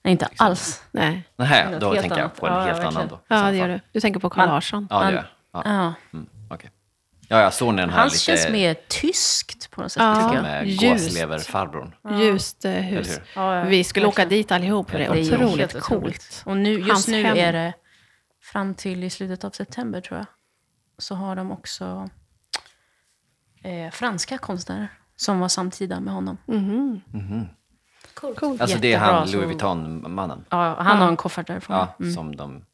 S5: Nej, inte
S2: Liksom.
S5: alls.
S1: Nej.
S2: Nej,
S5: Något
S2: då
S5: helt
S2: tänker jag
S5: annat.
S2: på en
S5: Ja,
S2: helt
S5: verkligen.
S2: annan då. i
S1: Ja,
S2: så
S1: det gör
S2: fall.
S1: du. Du tänker på Carl
S5: Man-
S1: Larsson.
S2: Ja, det gör jag. Ja.
S5: Ja.
S2: Mm, okej. ja, jag såg den här
S5: Hans
S2: lite...
S5: känns mer tyskt på något sätt,
S1: Ja.
S5: tycker jag.
S2: Med
S1: Ljust.
S2: gåsleverfarbrorn.
S1: Ljust eh,
S2: Eller
S1: hus.
S2: hur?
S5: Ja, ja,
S1: Vi skulle åka
S5: verkligen.
S1: dit allihop. Det är
S2: Det är ju
S1: otroligt
S5: helt
S1: coolt.
S5: otroligt. Och nu, just
S1: Hans
S5: nu
S1: hem.
S5: är det fram till i slutet av september, tror jag. Så har de också eh, franska konstnärer som var samtida med honom.
S1: Mm.
S3: Coolt.
S2: Alltså det är
S5: Jättebra,
S2: han
S5: så-
S2: Louis Vuitton-mannen.
S5: Ja, han har en koffert därifrån.
S2: Ja, som de...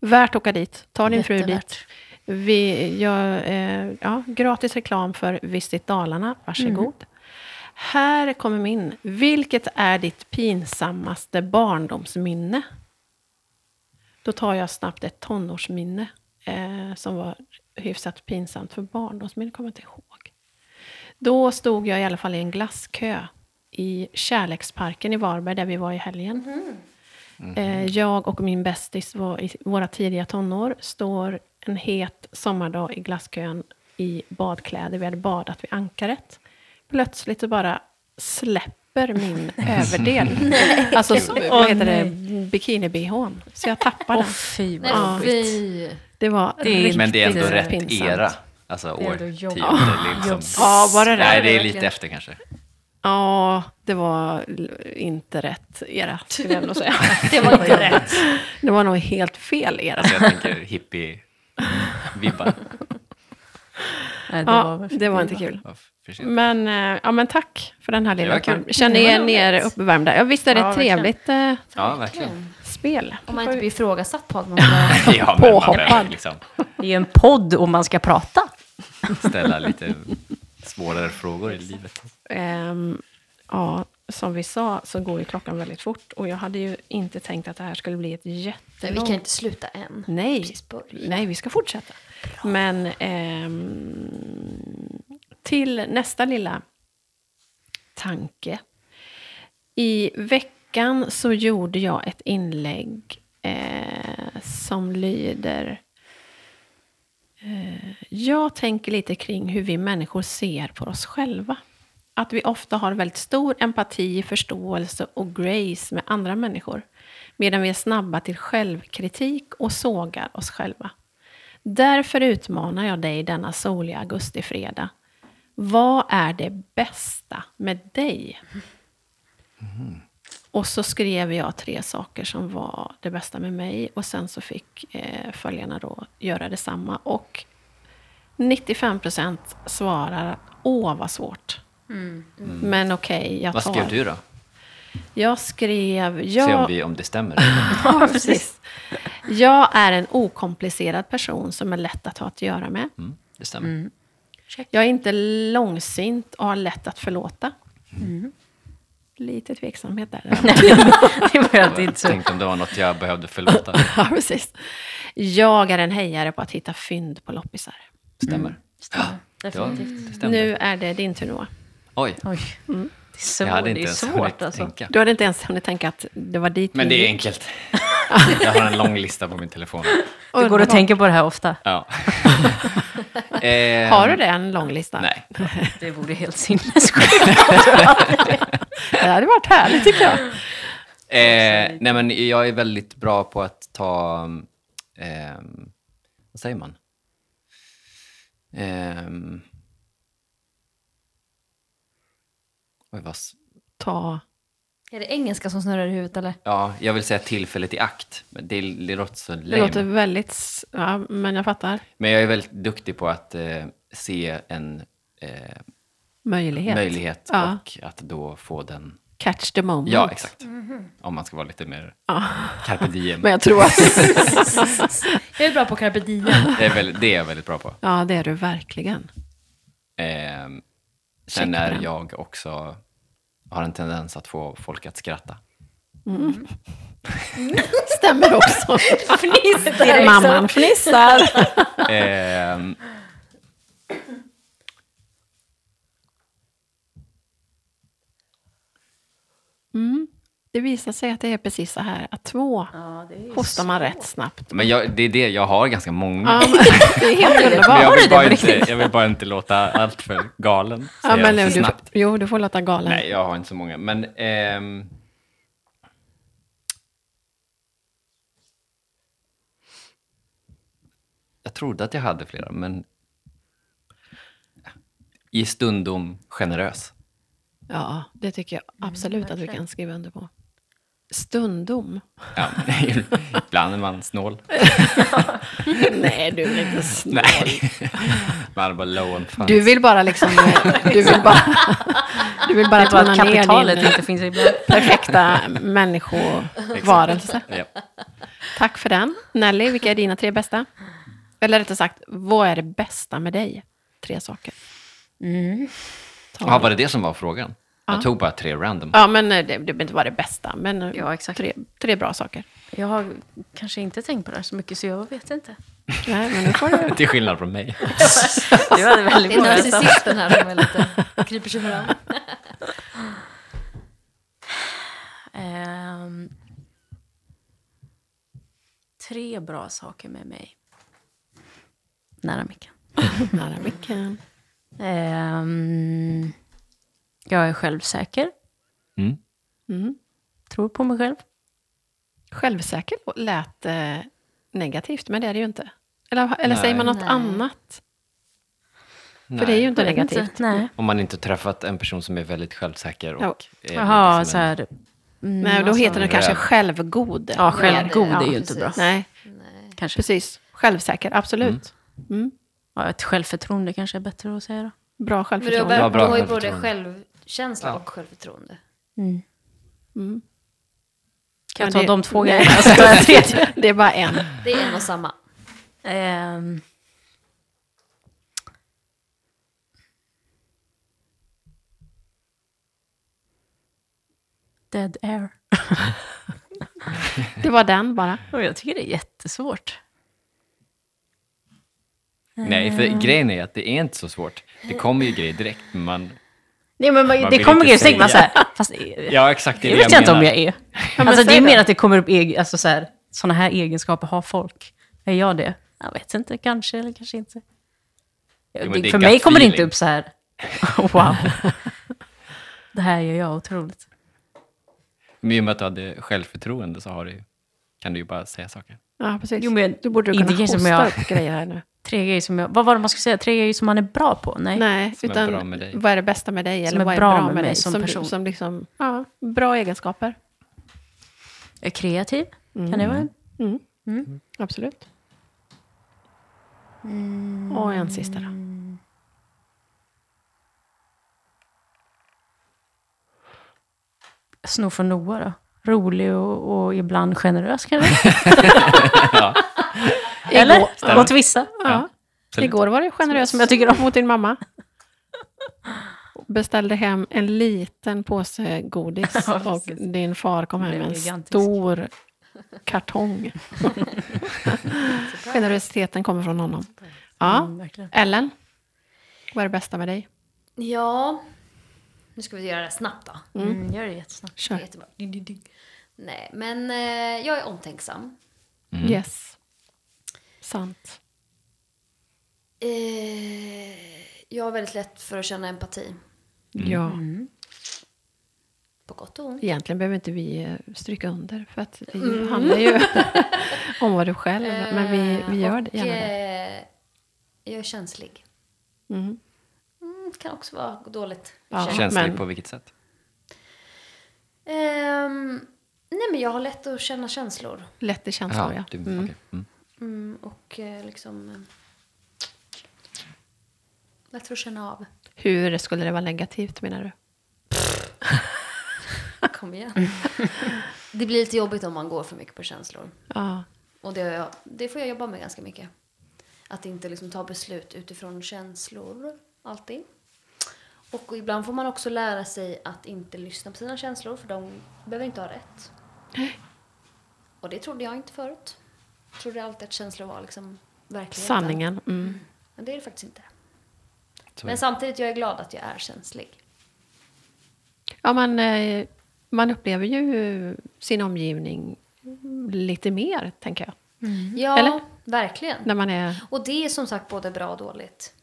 S1: Värt att åka dit. Ta din fru
S5: Jättevärt.
S1: dit. Vi gör eh, ja, gratis reklam för Visit Dalarna. Varsågod. Här kommer min. Vilket är ditt pinsammaste barndomsminne? Då tar jag snabbt ett tonårsminne eh, som var hyfsat pinsamt. För barndomsminne kommer jag inte ihåg. Då stod jag i alla fall i en glasskö i Kärleksparken i Varberg där vi var i helgen.
S2: Mm-hmm.
S1: Eh, Jag och min bästis var i våra tidiga tonår, står en het sommardag i glasskön i badkläder. Vi hade badat vid ankaret. Plötsligt så bara släpper min överdel. alltså, så- vad heter det? Bikini-bhn. Så jag tappar
S5: Åh
S1: den.
S5: fy vad
S3: Nej,
S1: Ja.
S3: fy.
S1: Det var
S5: Det är
S1: riktigt
S2: Men det är ändå rätt
S1: pinsamt.
S2: era. Alltså
S3: Det är ändå jobbigt.
S2: årtionde. liksom.
S1: Ja, var det det?
S2: Nej, det är
S3: Verkligen.
S2: lite efter kanske.
S1: Ja, det var l- inte rätt era, skulle jag nog säga.
S3: Det var inte rätt.
S1: Det var nog helt fel era.
S2: Alltså jag tänker hippie-vibbar.
S5: Nej, det
S1: Ja,
S5: var
S1: det var inte kul.
S2: Ja, för sent.
S1: Men, eh, ja, men tack för den här lilla.
S2: Det var kul.
S1: kul. Känner ni er ner uppvärmda? Ja, visst är det
S5: Ja,
S1: ett trevligt eh,
S2: Ja, verkligen.
S1: spel?
S3: Om man inte blir ifrågasatt på att man ska...
S2: Ja, men man behöver
S1: Påhoppad.
S2: liksom
S5: Det är ju en podd om man ska prata.
S2: ställa lite svårare frågor i livet.
S1: Ehm, ja, som vi sa så går ju klockan väldigt fort och jag hade ju inte tänkt att det här skulle bli ett
S3: Nej, vi
S1: jättelångt...
S3: kan inte sluta än.
S1: Nej,
S3: Precis börja.
S1: nej, vi ska fortsätta. Men ehm, till nästa lilla tanke. I veckan så gjorde jag ett inlägg eh, som lyder... Eh, jag tänker lite kring hur vi människor ser på oss själva. Att vi ofta har väldigt stor empati, förståelse och grace med andra människor. Medan vi är snabba till självkritik och sågar oss själva. Därför utmanar jag dig denna soliga augustifredag. Vad är det bästa med dig? Och så skrev jag tre saker som var det bästa med mig. Och sen så fick eh, följarna då göra detsamma. Och 95% svarar, åh vad svårt. Men okej, jag tar.
S2: Vad skrev du då?
S1: Jag skrev,
S2: Se om,
S1: jag,
S2: vi, om det stämmer.
S1: ja, precis. jag är en okomplicerad person som är lätt att ha att göra med.
S2: Mm, det stämmer.
S1: Jag är inte långsint och har lätt att förlåta.
S2: Mm.
S1: Lite tveksamhet där.
S5: Det var
S2: Jag
S5: att det inte så.
S2: tänkte om det var något jag behövde förlåta.
S1: ja, precis. Jag är en hejare på att hitta fynd på loppisar.
S2: Stämmer. Det, var,
S5: Mm. Definitivt.
S2: det stämde.
S1: Nu är det din tur Noah.
S2: Oj,
S5: Oj. Mm. Det är svårt,
S2: jag hade inte
S5: det är
S2: ens
S5: svårt
S2: hunnit
S5: alltså.
S2: tänka.
S1: Du hade inte ens hunnit tänka att det var dit
S2: Men
S1: vi
S2: det är
S1: gick.
S2: enkelt. Jag har en lång lista på min telefon.
S5: Du går och tänker på det här ofta.
S2: Ja. Ehm,
S1: Har du det, en lång lista?
S2: Nej.
S5: Det vore helt sinnessjukt.
S1: Det hade varit härligt tycker jag.
S2: Eh, nej, men jag är väldigt bra på att ta... ehm, vad säger man? Ehm, oj, vad, s-
S1: Ta...
S3: Är det engelska som snurrar i huvudet eller?
S2: ja, jag vill säga tillfället i akt, men det, det låter så
S1: Det låter
S2: lame.
S1: väldigt... s- Ja, men jag fattar.
S2: Men jag är väldigt duktig på att eh, se en eh,
S1: Möjlighet.
S2: möjlighet
S1: Ja. Mm.
S2: och att då få den...
S1: Catch the moment.
S2: Ja, exakt. Om man ska vara lite mer carpe diem.
S1: Men jag tror att...
S3: Jag är bra på carpe diem.
S2: Det, är väldigt, det är jag väldigt bra på.
S1: ja, det är du verkligen.
S2: Ehm, sen
S1: Ursäkta
S2: är
S1: den.
S2: jag också, har en tendens att få folk att skratta.
S1: Stämmer också.
S3: Fnissar.
S1: Mamman fnissar.
S2: Ehm.
S1: det visar sig att det är precis så här att två hostar man rätt snabbt.
S2: Men jag, det är det, jag har ganska många.
S1: Ja, men, det är helt
S2: Men
S1: underbart.
S2: jag, vill bara inte, jag vill bara inte låta allt för galen.
S1: Ja,
S2: säga
S1: men
S2: för
S1: nu, du,
S2: snabbt.
S1: jo, du får låta galen.
S2: Nej, jag har inte så många. Men... ehm, jag trodde att jag hade flera, men... I stundom generös.
S1: Ja, det tycker jag absolut att du kan skriva under på. Stundom.
S2: Ja, ibland är man snål.
S1: Nej, du är inte snäll.
S2: Nej. Man är bara low on funds.
S1: Du vill bara liksom... Du vill bara, du vill bara
S5: Bara att
S1: tona ner
S5: kapitalet
S1: din
S5: inte finns ibland.
S1: perfekta människovarelse.
S2: Ja.
S1: Tack för den. Nelly, vilka är dina tre bästa? Eller rättare sagt, vad är det bästa med dig? Tre saker. Mm. Ta
S2: Ja, var det det som var frågan?
S1: Ja.
S2: Jag tog bara tre random.
S1: Ja, men eh, det det behöver inte vara det bästa, men eh,
S5: Ja, exakt.
S1: tre, tre bra saker.
S5: Jag har kanske inte tänkt på det här så mycket så jag vet inte.
S1: Nej, men nu får du...
S2: Till skillnad från mig.
S5: Du hade
S3: Det
S5: väldigt
S3: är
S5: bra.
S3: narcissisten här som är lite, kryper sig fram.
S5: Ehm, tre bra saker med mig. Nära micken.
S1: Nära micken.
S5: Ehm, jag är självsäker.
S2: Mm.
S5: Tror på mig själv.
S1: Självsäker lät eh, negativt, men det är det ju inte. Eller, eller säger man något
S3: Nej.
S1: annat? För
S2: Nej.
S1: det är ju inte
S5: Jag vet
S1: negativt.
S5: Inte. Nej.
S2: Om man inte träffat en person som är väldigt självsäker och...
S1: Ja.
S2: är
S5: Jaha,
S2: lite
S5: så
S2: som en-
S5: här. Mm,
S1: Nej, då
S5: alltså-
S1: heter det kanske
S2: Rädd.
S1: självgod.
S5: Ja, självgod
S3: Ja,
S5: är ju inte
S3: precis.
S5: bra.
S1: Nej,
S3: Nej.
S5: Kanske.
S1: precis. Självsäker, absolut.
S5: Mm.
S1: Mm.
S5: Ja, ett självförtroende kanske är bättre att säga
S1: Bra
S5: då.
S3: Men du har,
S1: självförtroende.
S2: Ja,
S3: bör-
S2: bra
S3: du har ju både självkänsla och självförtroende.
S5: Mm. Kan jag
S1: Men
S5: ta
S1: det-
S5: de två
S1: Nej.
S5: grejerna?
S1: Mm. Det är bara en.
S3: Det är en och samma.
S5: Ehm. Dead air.
S1: Det var den bara.
S5: Och jag tycker det är jättesvårt.
S2: Nej, för grejen är att det är inte så svårt. Det kommer ju grejer direkt, men man...
S5: Nej, men man, det
S2: vill
S5: kommer
S2: inte
S5: grejer, så tänker man så
S2: säga.
S5: här, fast det
S2: Ja, exakt. Det är
S5: vet
S2: det
S5: jag inte om jag är. Alltså det
S1: säg
S5: är mer
S1: det.
S5: att det kommer upp egen, alltså så här, sådana här egenskaper har folk. Är jag det? Jag vet inte, kanske eller kanske inte.
S2: men
S5: det,
S2: det är
S5: för
S2: gut
S5: mig kommer det inte
S2: feeling.
S5: upp så här, wow. det här gör jag otroligt.
S2: Men i och med att du hade självförtroende så har du, ju- kan du ju bara säga saker.
S1: Ja, precis.
S5: Jo, men
S1: du borde
S5: inte
S1: kunna
S5: grejer som
S1: hosta
S5: jag-
S1: upp grejer här nu.
S5: Tre grejer som jag, vad var det man skulle säga? Tre grejer som man är bra på? Nej.
S1: Nej,
S2: Som är
S1: utan
S2: bra med dig.
S1: vad är det bästa med dig? Eller
S5: är
S1: vad är
S5: bra
S1: bra
S5: med
S1: med
S5: mig
S1: dig?
S5: som
S1: du-
S5: person.
S1: Som liksom, ja, bra egenskaper.
S5: Jag är kreativ, kan det vara en?
S1: Absolut.
S5: Mm.
S1: Och en sista då.
S5: Snor från Noah då? Rolig och, och ibland generös kanske? Eller? Mot vissa.
S1: Ja.
S2: Absolut.
S1: Igår var du generös som jag tycker om mot din mamma. Beställde hem en liten påse godis
S5: Ja,
S1: och
S5: precis.
S1: din far kom hem
S5: blev
S1: med en
S5: gigantisk.
S1: stor kartong. Generositeten kommer från honom. Ja.
S5: Mm, verkligen.
S1: Ellen, vad är det bästa med dig?
S3: Ja, nu ska vi göra det snabbt då.
S5: Mm, gör det jättesnabbt.
S3: Det är
S1: Kör.
S3: jättebra. Ding, ding, ding. Nej, men eh, jag är omtänksam.
S1: Yes. Sant.
S3: Eh, jag har väldigt lätt för att känna empati.
S1: Ja.
S3: På gott och ont.
S1: Egentligen behöver inte vi eh, stryka under, för att det ju handlar ju om vad du själv... Men vi, vi gör det
S3: Eh, och,
S1: gärna det.
S3: eh, Jag är känslig.
S1: Mm.
S3: Mm, kan också vara dåligt.
S1: Ja.
S3: Känn-
S2: Känslig
S1: men-
S2: på vilket sätt?
S3: Ehm, nej, men jag har lätt att känna känslor.
S1: Lätt i känslor, ja.
S2: du,
S1: Mm.
S2: okej. mm.
S3: Mm, och eh, liksom... Eh, lätt att känna av.
S1: Hur skulle det vara negativt, menar du?
S3: Kom igen. det blir lite jobbigt om man går för mycket på känslor.
S1: Ja.
S3: Och det, har jag, det får jag jobba med ganska mycket. Att inte liksom ta beslut utifrån känslor, alltid. Och ibland får man också lära sig att inte lyssna på sina känslor, för de behöver inte ha rätt. Och det trodde jag inte förut. Jag trodde alltid att känslor var liksom verkligheten.
S1: Sanningen. Mm.
S3: Men det är det faktiskt inte.
S2: Så-
S3: Men samtidigt, jag är glad att jag är känslig.
S1: Ja, men eh, man upplever ju sin omgivning lite mer, tänker jag.
S3: Ja,
S1: Mm. Eller?
S3: verkligen.
S1: När man är...
S3: Och det är som sagt både bra och dåligt.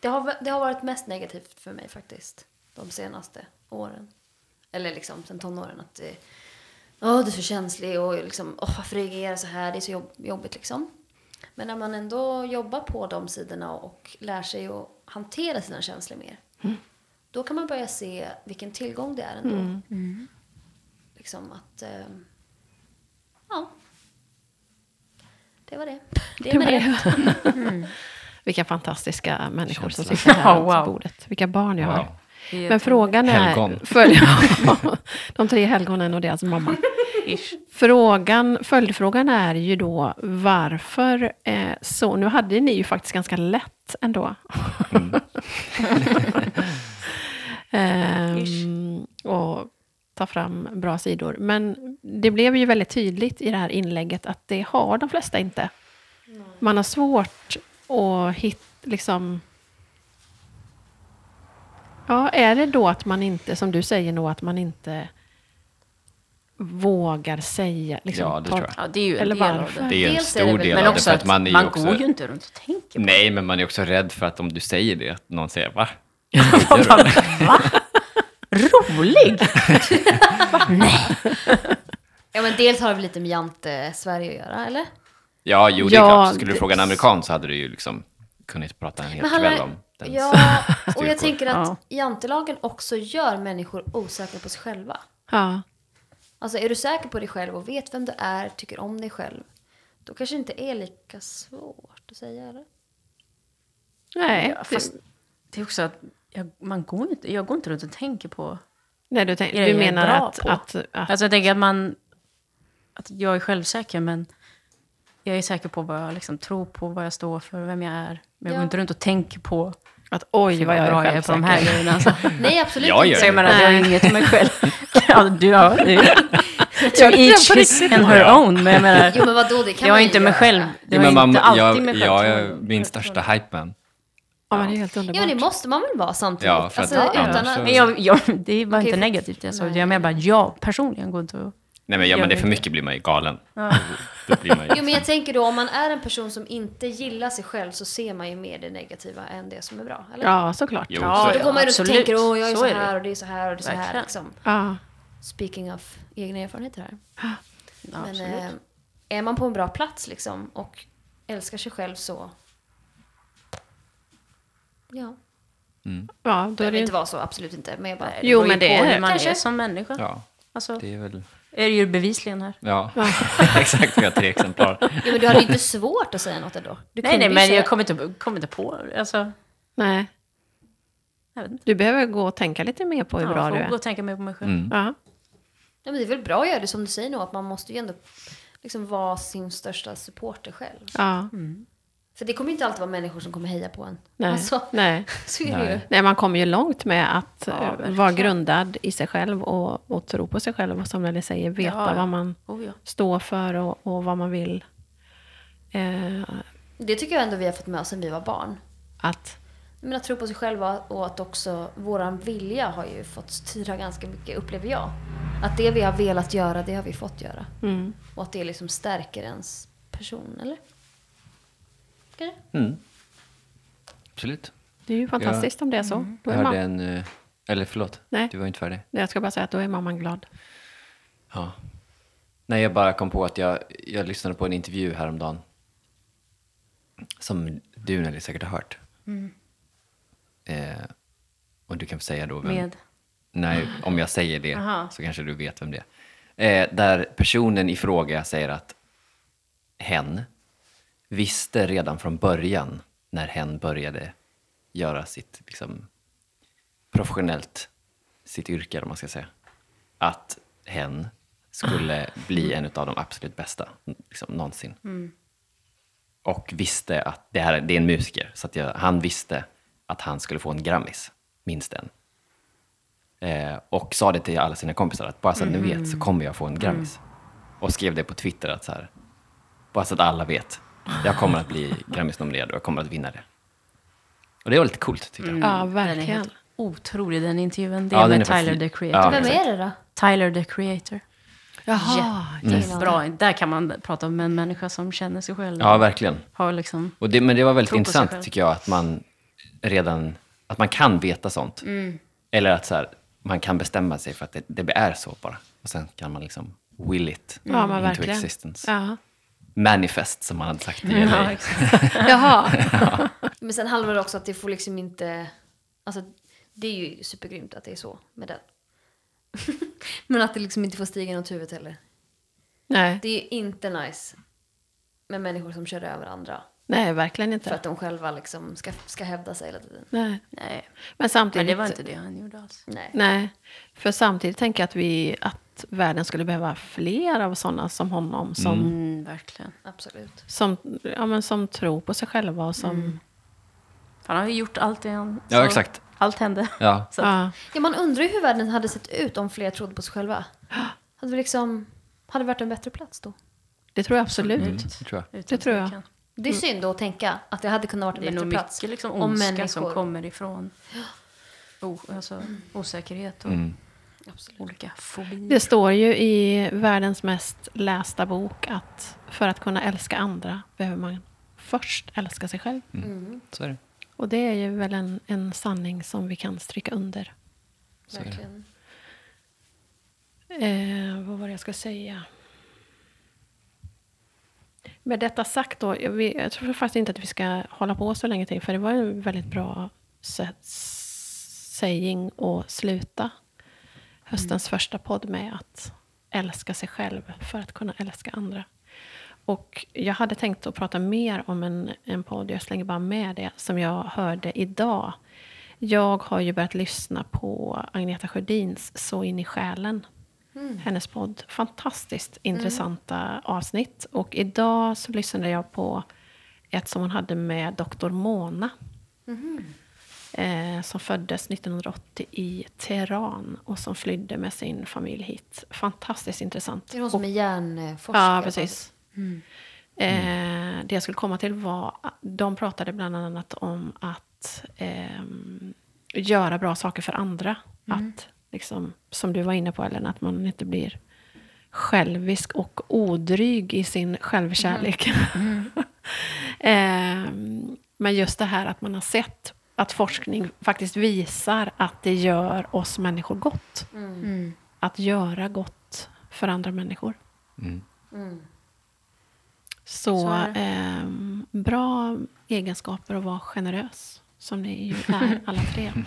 S3: Det har, det har varit mest negativt för mig faktiskt. De senaste åren. Eller liksom sen tonåren. Att eh, åh du är så känslig och liksom, åh varför reagerar jag så här? Det är så jobb, jobbigt liksom. Men när man ändå jobbar på de sidorna och lär sig att hantera sina känslor mer. Då kan man börja se vilken tillgång det är ändå. Mm. Liksom att, eh, ja. Det var det. Det var det.
S1: Vilka fantastiska människor som
S2: Känsla.
S1: sitter här
S5: Wow.
S1: runt bordet. Vilka barn jag har.
S2: Wow.
S1: Men frågan är...
S2: Helgon.
S1: Följ, de tre helgonen och deras mamma.
S5: Ish.
S1: Frågan, följdfrågan är ju då varför eh, så... Nu hade ni ju faktiskt ganska lätt ändå. ehm, och ta fram bra sidor. Men det blev ju väldigt tydligt i det här inlägget att det har de flesta inte. Man har svårt att hitta... Liksom, Ja, är det då att man inte, som du säger nog, att man inte vågar säga... Liksom,
S2: Ja, det
S1: tar-
S2: tror jag.
S5: Ja, det är ju en
S1: Eller
S5: del av
S1: varför?
S5: det.
S2: Det är ju en
S3: Dels
S2: stor
S3: är det väl-
S2: del
S5: Men
S2: av det,
S5: också
S2: för
S5: att
S2: att man är ju
S5: man
S2: också...
S5: går ju inte runt och tänker på
S2: Nej, men man är också rädd för att om du säger det, att någon säger va?
S5: Rolig!
S3: Ja men dels har det väl lite med Jante-Sverige att göra, eller?
S2: Ja, jo, det är
S1: Ja,
S2: klart. Skulle
S1: det-
S2: du fråga en amerikan så hade du ju liksom kunnat prata en hel
S3: han
S2: kväll
S3: är-
S2: om den.
S3: Ja, och
S2: styrkor.
S3: jag tänker att jantelagen också gör människor osäkra på sig själva.
S1: Ja.
S3: Alltså är du säker på dig själv och vet vem du är, tycker om dig själv, då kanske det inte är lika svårt att säga eller?
S1: Nej,
S5: Ja, fast det är också att jag, man går inte, jag går inte runt och tänker på...
S1: nej du, tänk,
S5: Är
S1: du
S5: jag
S1: menar
S5: bra
S1: att,
S5: på?
S1: att, att...
S5: Alltså jag tänker att man... Att jag är självsäker, men jag är säker på vad jag liksom tror på, vad jag står för, vem jag är. Men jag
S3: Ja.
S5: går inte runt och tänker på
S1: Att oj, vad jag är
S5: bra jag är på de här
S1: självsäker.
S5: grejerna. Alltså.
S3: Nej absolut
S2: Jag gör
S3: inte.
S5: Så jag menar, att jag har inget med mig själv. Ja, du har... To each his and her own, men jag menar...
S3: Jo men vadå, det kan
S5: Jag
S3: man
S5: är
S3: ju
S5: inte mig
S3: göra.
S5: själv. Det var
S2: men man-
S5: inte alltid
S2: jag,
S5: mig själv.
S2: jag är min största hypeman.
S1: Ja, men det är helt underbart.
S3: Ja men det måste man väl vara samtidigt?
S2: Ja, för att-
S3: alltså,
S2: ja,
S3: utan
S2: absolut.
S3: att,
S5: Men jag, jag, det var inte
S3: för-
S5: negativt jag sa.
S3: Nej.
S5: Jag menar bara, jag personligen går inte och...
S2: Nej, men gör
S5: Gör
S2: man det
S5: det
S2: för
S5: inte.
S2: mycket blir man ju galen. Då blir man ju... liksom-
S3: Jo men jag tänker då om man är en person som inte gillar sig själv så ser man ju mer det negativa än det som är bra. Eller?
S1: Ja, såklart.
S2: Jo,
S5: Ja,
S2: så är
S3: Då
S2: det.
S3: går man ju runt och
S5: absolut.
S3: tänker åh jag är
S5: Så
S3: så,
S5: är det.
S3: här och det är så här och det är så här.
S5: Verkligen.
S3: Liksom.
S1: Ja.
S3: Speaking of egna erfarenheter här.
S5: Ja,
S3: Men
S5: absolut.
S3: eh, är man på en bra plats liksom och älskar sig själv så... Ja,
S1: ja, då
S3: det
S1: är
S3: behöver
S1: det
S3: inte vara så, absolut inte. Men jag bara...
S1: Jo,
S5: beror
S1: men
S5: ju
S1: det
S5: på
S1: är-
S5: hur man
S3: kanske.
S5: är som människa.
S2: Ja,
S5: Alltså,
S2: det är väl...
S5: är det ju bevisligen här.
S2: Ja, exakt. Vi har tre exemplar.
S3: Jo, men du hade ju inte svårt att säga något ändå. Du
S5: nej, nej,
S3: ju
S5: men
S3: säga-
S5: jag kommer inte, kommer inte på... Alltså,
S1: Nej,
S5: jag vet inte.
S1: du behöver gå och tänka lite mer på hur bra
S5: jag
S1: du
S5: får gå
S1: är.
S5: och tänka mer på mig själv.
S2: Mm.
S1: Ja.
S3: Ja, men det är väl bra att göra det som du säger nog, att man måste ju ändå liksom vara sin största supporter själv.
S1: Ja.
S5: Mm.
S3: För det kommer ju inte alltid vara människor som kommer heja på en.
S1: Nej.
S3: Alltså,
S1: Nej.
S3: så är det ju.
S1: Nej, man kommer ju långt med att
S5: Ja,
S1: eh,
S5: verkligen.
S1: vara grundad i sig själv och, och tro på sig själv och som Nelly säger, veta
S5: Ja, ja.
S1: vad man
S5: Oh, ja.
S1: står för och, och vad man vill. Eh,
S3: Det tycker jag ändå vi har fått med oss sen vi var barn.
S1: att,
S3: Men att tro på sig själva och att också våran vilja har ju fått styra ganska mycket, upplever jag. Att det vi har velat göra, det har vi fått göra. Och att det liksom stärker ens person, eller? Kanske?
S2: Absolut.
S1: det är ju fantastiskt om det är så.
S5: Mm.
S1: Då
S2: Jag
S1: är
S2: hörde
S1: man,
S2: en... eh, Eller förlåt,
S1: Nej.
S2: du var inte färdig.
S1: jag ska bara säga att då är mamman glad.
S2: Ja. Nej, jag bara kom på att jag, jag lyssnade på en intervju häromdagen. Som du Nelly säkert har hört.
S5: Mm.
S2: Eh, och du kan få säga då vem...
S5: Med?
S2: Nej, om jag säger det
S5: Aha.
S2: så kanske du vet vem det är. Eh, där personen i fråga säger att hen visste redan från början när hen började göra sitt liksom, professionellt, sitt yrke eller vad man ska säga, att hen skulle bli en av de absolut bästa liksom, någonsin. Och visste att det här det är en musiker, så att jag, han visste att han skulle få en Grammis, minst en. Eh, och sa det till alla sina kompisar att bara så att ni vet så kommer jag få en Grammis. Och skrev det på Twitter att så här, bara så att alla vet. Jag kommer att bli Grammisnominerad och jag kommer att vinna det. Och det var lite coolt tycker jag.
S1: Ja,
S5: Mm. Den är
S1: verkligen.
S5: helt otrolig, den intervjun. Det
S2: Ja,
S5: är
S2: den
S5: med
S2: är
S5: Tyler,
S2: faktiskt-
S5: the
S2: Ja.
S5: creator.
S3: Vem är det då?
S5: Tyler the Creator.
S1: Jaha,
S3: Mm.
S5: Bra, där kan man prata om en människa som känner sig själv.
S2: Ja, verkligen.
S5: Har liksom,
S2: Och det, men det var väldigt
S5: Tro på sig
S2: intressant
S5: själv.
S2: tycker jag att man redan att man kan veta sånt.
S5: Mm.
S2: Eller att så här, man kan bestämma sig för att det, det är så bara. Och sen kan man liksom will it
S1: ja men
S2: into
S1: verkligen.
S2: existence.
S5: Mm.
S1: Ja.
S2: Manifest som man hade sagt i LA.
S1: Jaha.
S3: Men sen handlar det också att det får liksom inte... Alltså, det är ju supergrymt att det är så med den. Men att det liksom inte får stiga i något huvud heller.
S1: Nej.
S3: Det är inte nice med människor som kör över andra.
S1: Nej, verkligen
S3: För
S1: inte.
S3: att de själva liksom ska, ska hävda sig hela tiden.
S1: Nej.
S5: nej.
S1: Men samtidigt.
S5: Men det var inte det han gjorde alls.
S3: Nej.
S1: Nej, för samtidigt tänker jag att, vi, att världen skulle behöva fler av sådana som honom. Som,
S5: Mm, verkligen.
S3: Absolut.
S1: som, ja, men som tror på sig själva och som...
S5: Han har ju gjort allt det han...
S2: Ja,
S5: så
S2: exakt.
S5: Allt hände.
S2: Ja.
S5: Så att-
S1: Ja,
S3: Ja, man undrar ju hur världen hade sett ut om fler trodde på sig själva. Hade vi liksom... Hade det varit en bättre plats då?
S1: det tror jag absolut.
S2: Mm, det tror jag.
S5: utan
S1: Det tror jag.
S5: tvekan.
S3: Det
S1: Mm.
S3: är synd att tänka att det hade kunnat
S5: Det
S3: vara
S5: är
S3: en
S5: nog
S3: bättre plats.
S5: mycket liksom
S3: om
S5: ondska
S3: människor.
S5: som kommer ifrån o, alltså, osäkerhet och
S3: Absolut.
S5: olika fobier.
S1: Det står ju i världens mest lästa bok att för att kunna älska andra behöver man först älska sig själv.
S5: Mm.
S2: Så är det.
S1: Och det är ju väl en, en sanning som vi kan stryka under.
S2: är det.
S3: Verkligen.
S1: Eh, vad var det jag ska säga? Med detta sagt då, jag, vi- jag tror faktiskt inte att vi ska hålla på så länge till, för det var en väldigt bra sätt, saying att sluta höstens första podd med att älska sig själv för att kunna älska andra. Och jag hade tänkt att prata mer om en, en podd, jag slänger bara med det, som jag hörde idag. Jag har ju börjat lyssna på Agneta Sjödins Så in i själen. Hennes podd. Fantastiskt intressanta avsnitt. Och idag så lyssnade jag på ett som hon hade med Dr. Mona. Eh, som föddes 1980 i Teheran och som flydde med sin familj hit. Fantastiskt intressant.
S3: Det är någon som är hjärnforskare.
S1: Ja, precis. Eh, det jag skulle komma till var, de pratade bland annat om att ehm, göra bra saker för andra. Att, liksom, som du var inne på Ellen, att man inte blir självisk och odryg i sin självkärlek. Ehm, men just det här att man har sett att forskning faktiskt visar att det gör oss människor gott.
S3: Mm.
S1: Att göra gott för andra människor. Så,
S5: Så är det.
S1: ehm, bra egenskaper att vara generös, som ni ju är alla tre.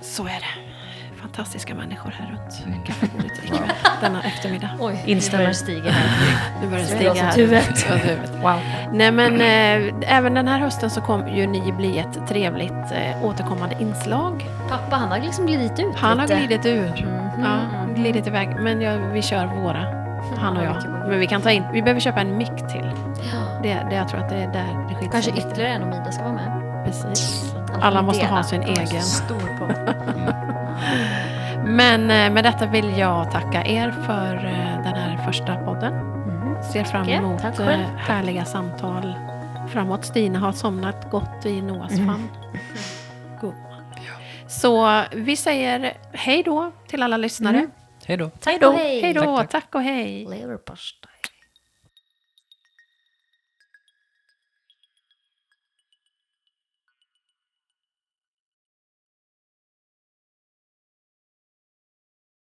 S1: Så är det. Fantastiska människor här runt kaffebordet ikväll, denna eftermiddag.
S3: Oj,
S5: Instämmer.
S3: instämmer. stiga här.
S1: Nu börjar det
S3: Det
S1: stiga
S3: låter
S1: här.
S3: som huvudet.
S1: Ja, huvudet.
S5: Wow.
S1: Nej men eh, även den här hösten så kommer ju ni bli ett trevligt eh, återkommande inslag.
S3: Pappa, han har liksom glidit ut
S1: Han har
S3: lite. Mhm.
S1: glidit ur. Ja, glidit iväg. Men jag, vi kör våra, han och jag. Men vi kan ta in, vi behöver köpa en mick till.
S3: Ja.
S1: Det, det, jag tror att det är där det skiljer
S3: Kanske
S1: sig lite.
S3: ytterligare en om Ida ska vara med.
S1: Precis.
S3: Alla
S1: Alla
S3: får
S1: måste
S3: dela.
S1: ha sin egen.
S5: Stor på.
S1: Men eh, med detta vill jag tacka er för eh, den här första podden.
S3: Mm.
S1: Ser fram
S3: Tack.
S1: emot
S3: Tack
S1: eh,
S3: själv.
S1: härliga samtal framåt. Stina har somnat gott i Noas
S3: Mm.
S1: famn. Gumman. Så vi säger hej då till alla lyssnare.
S2: Hej då.
S3: Tack och
S1: Hej
S3: Mm. hej.
S1: då,
S2: Tack,
S1: tack,
S2: tack.
S1: och hej.
S3: Leverpastej.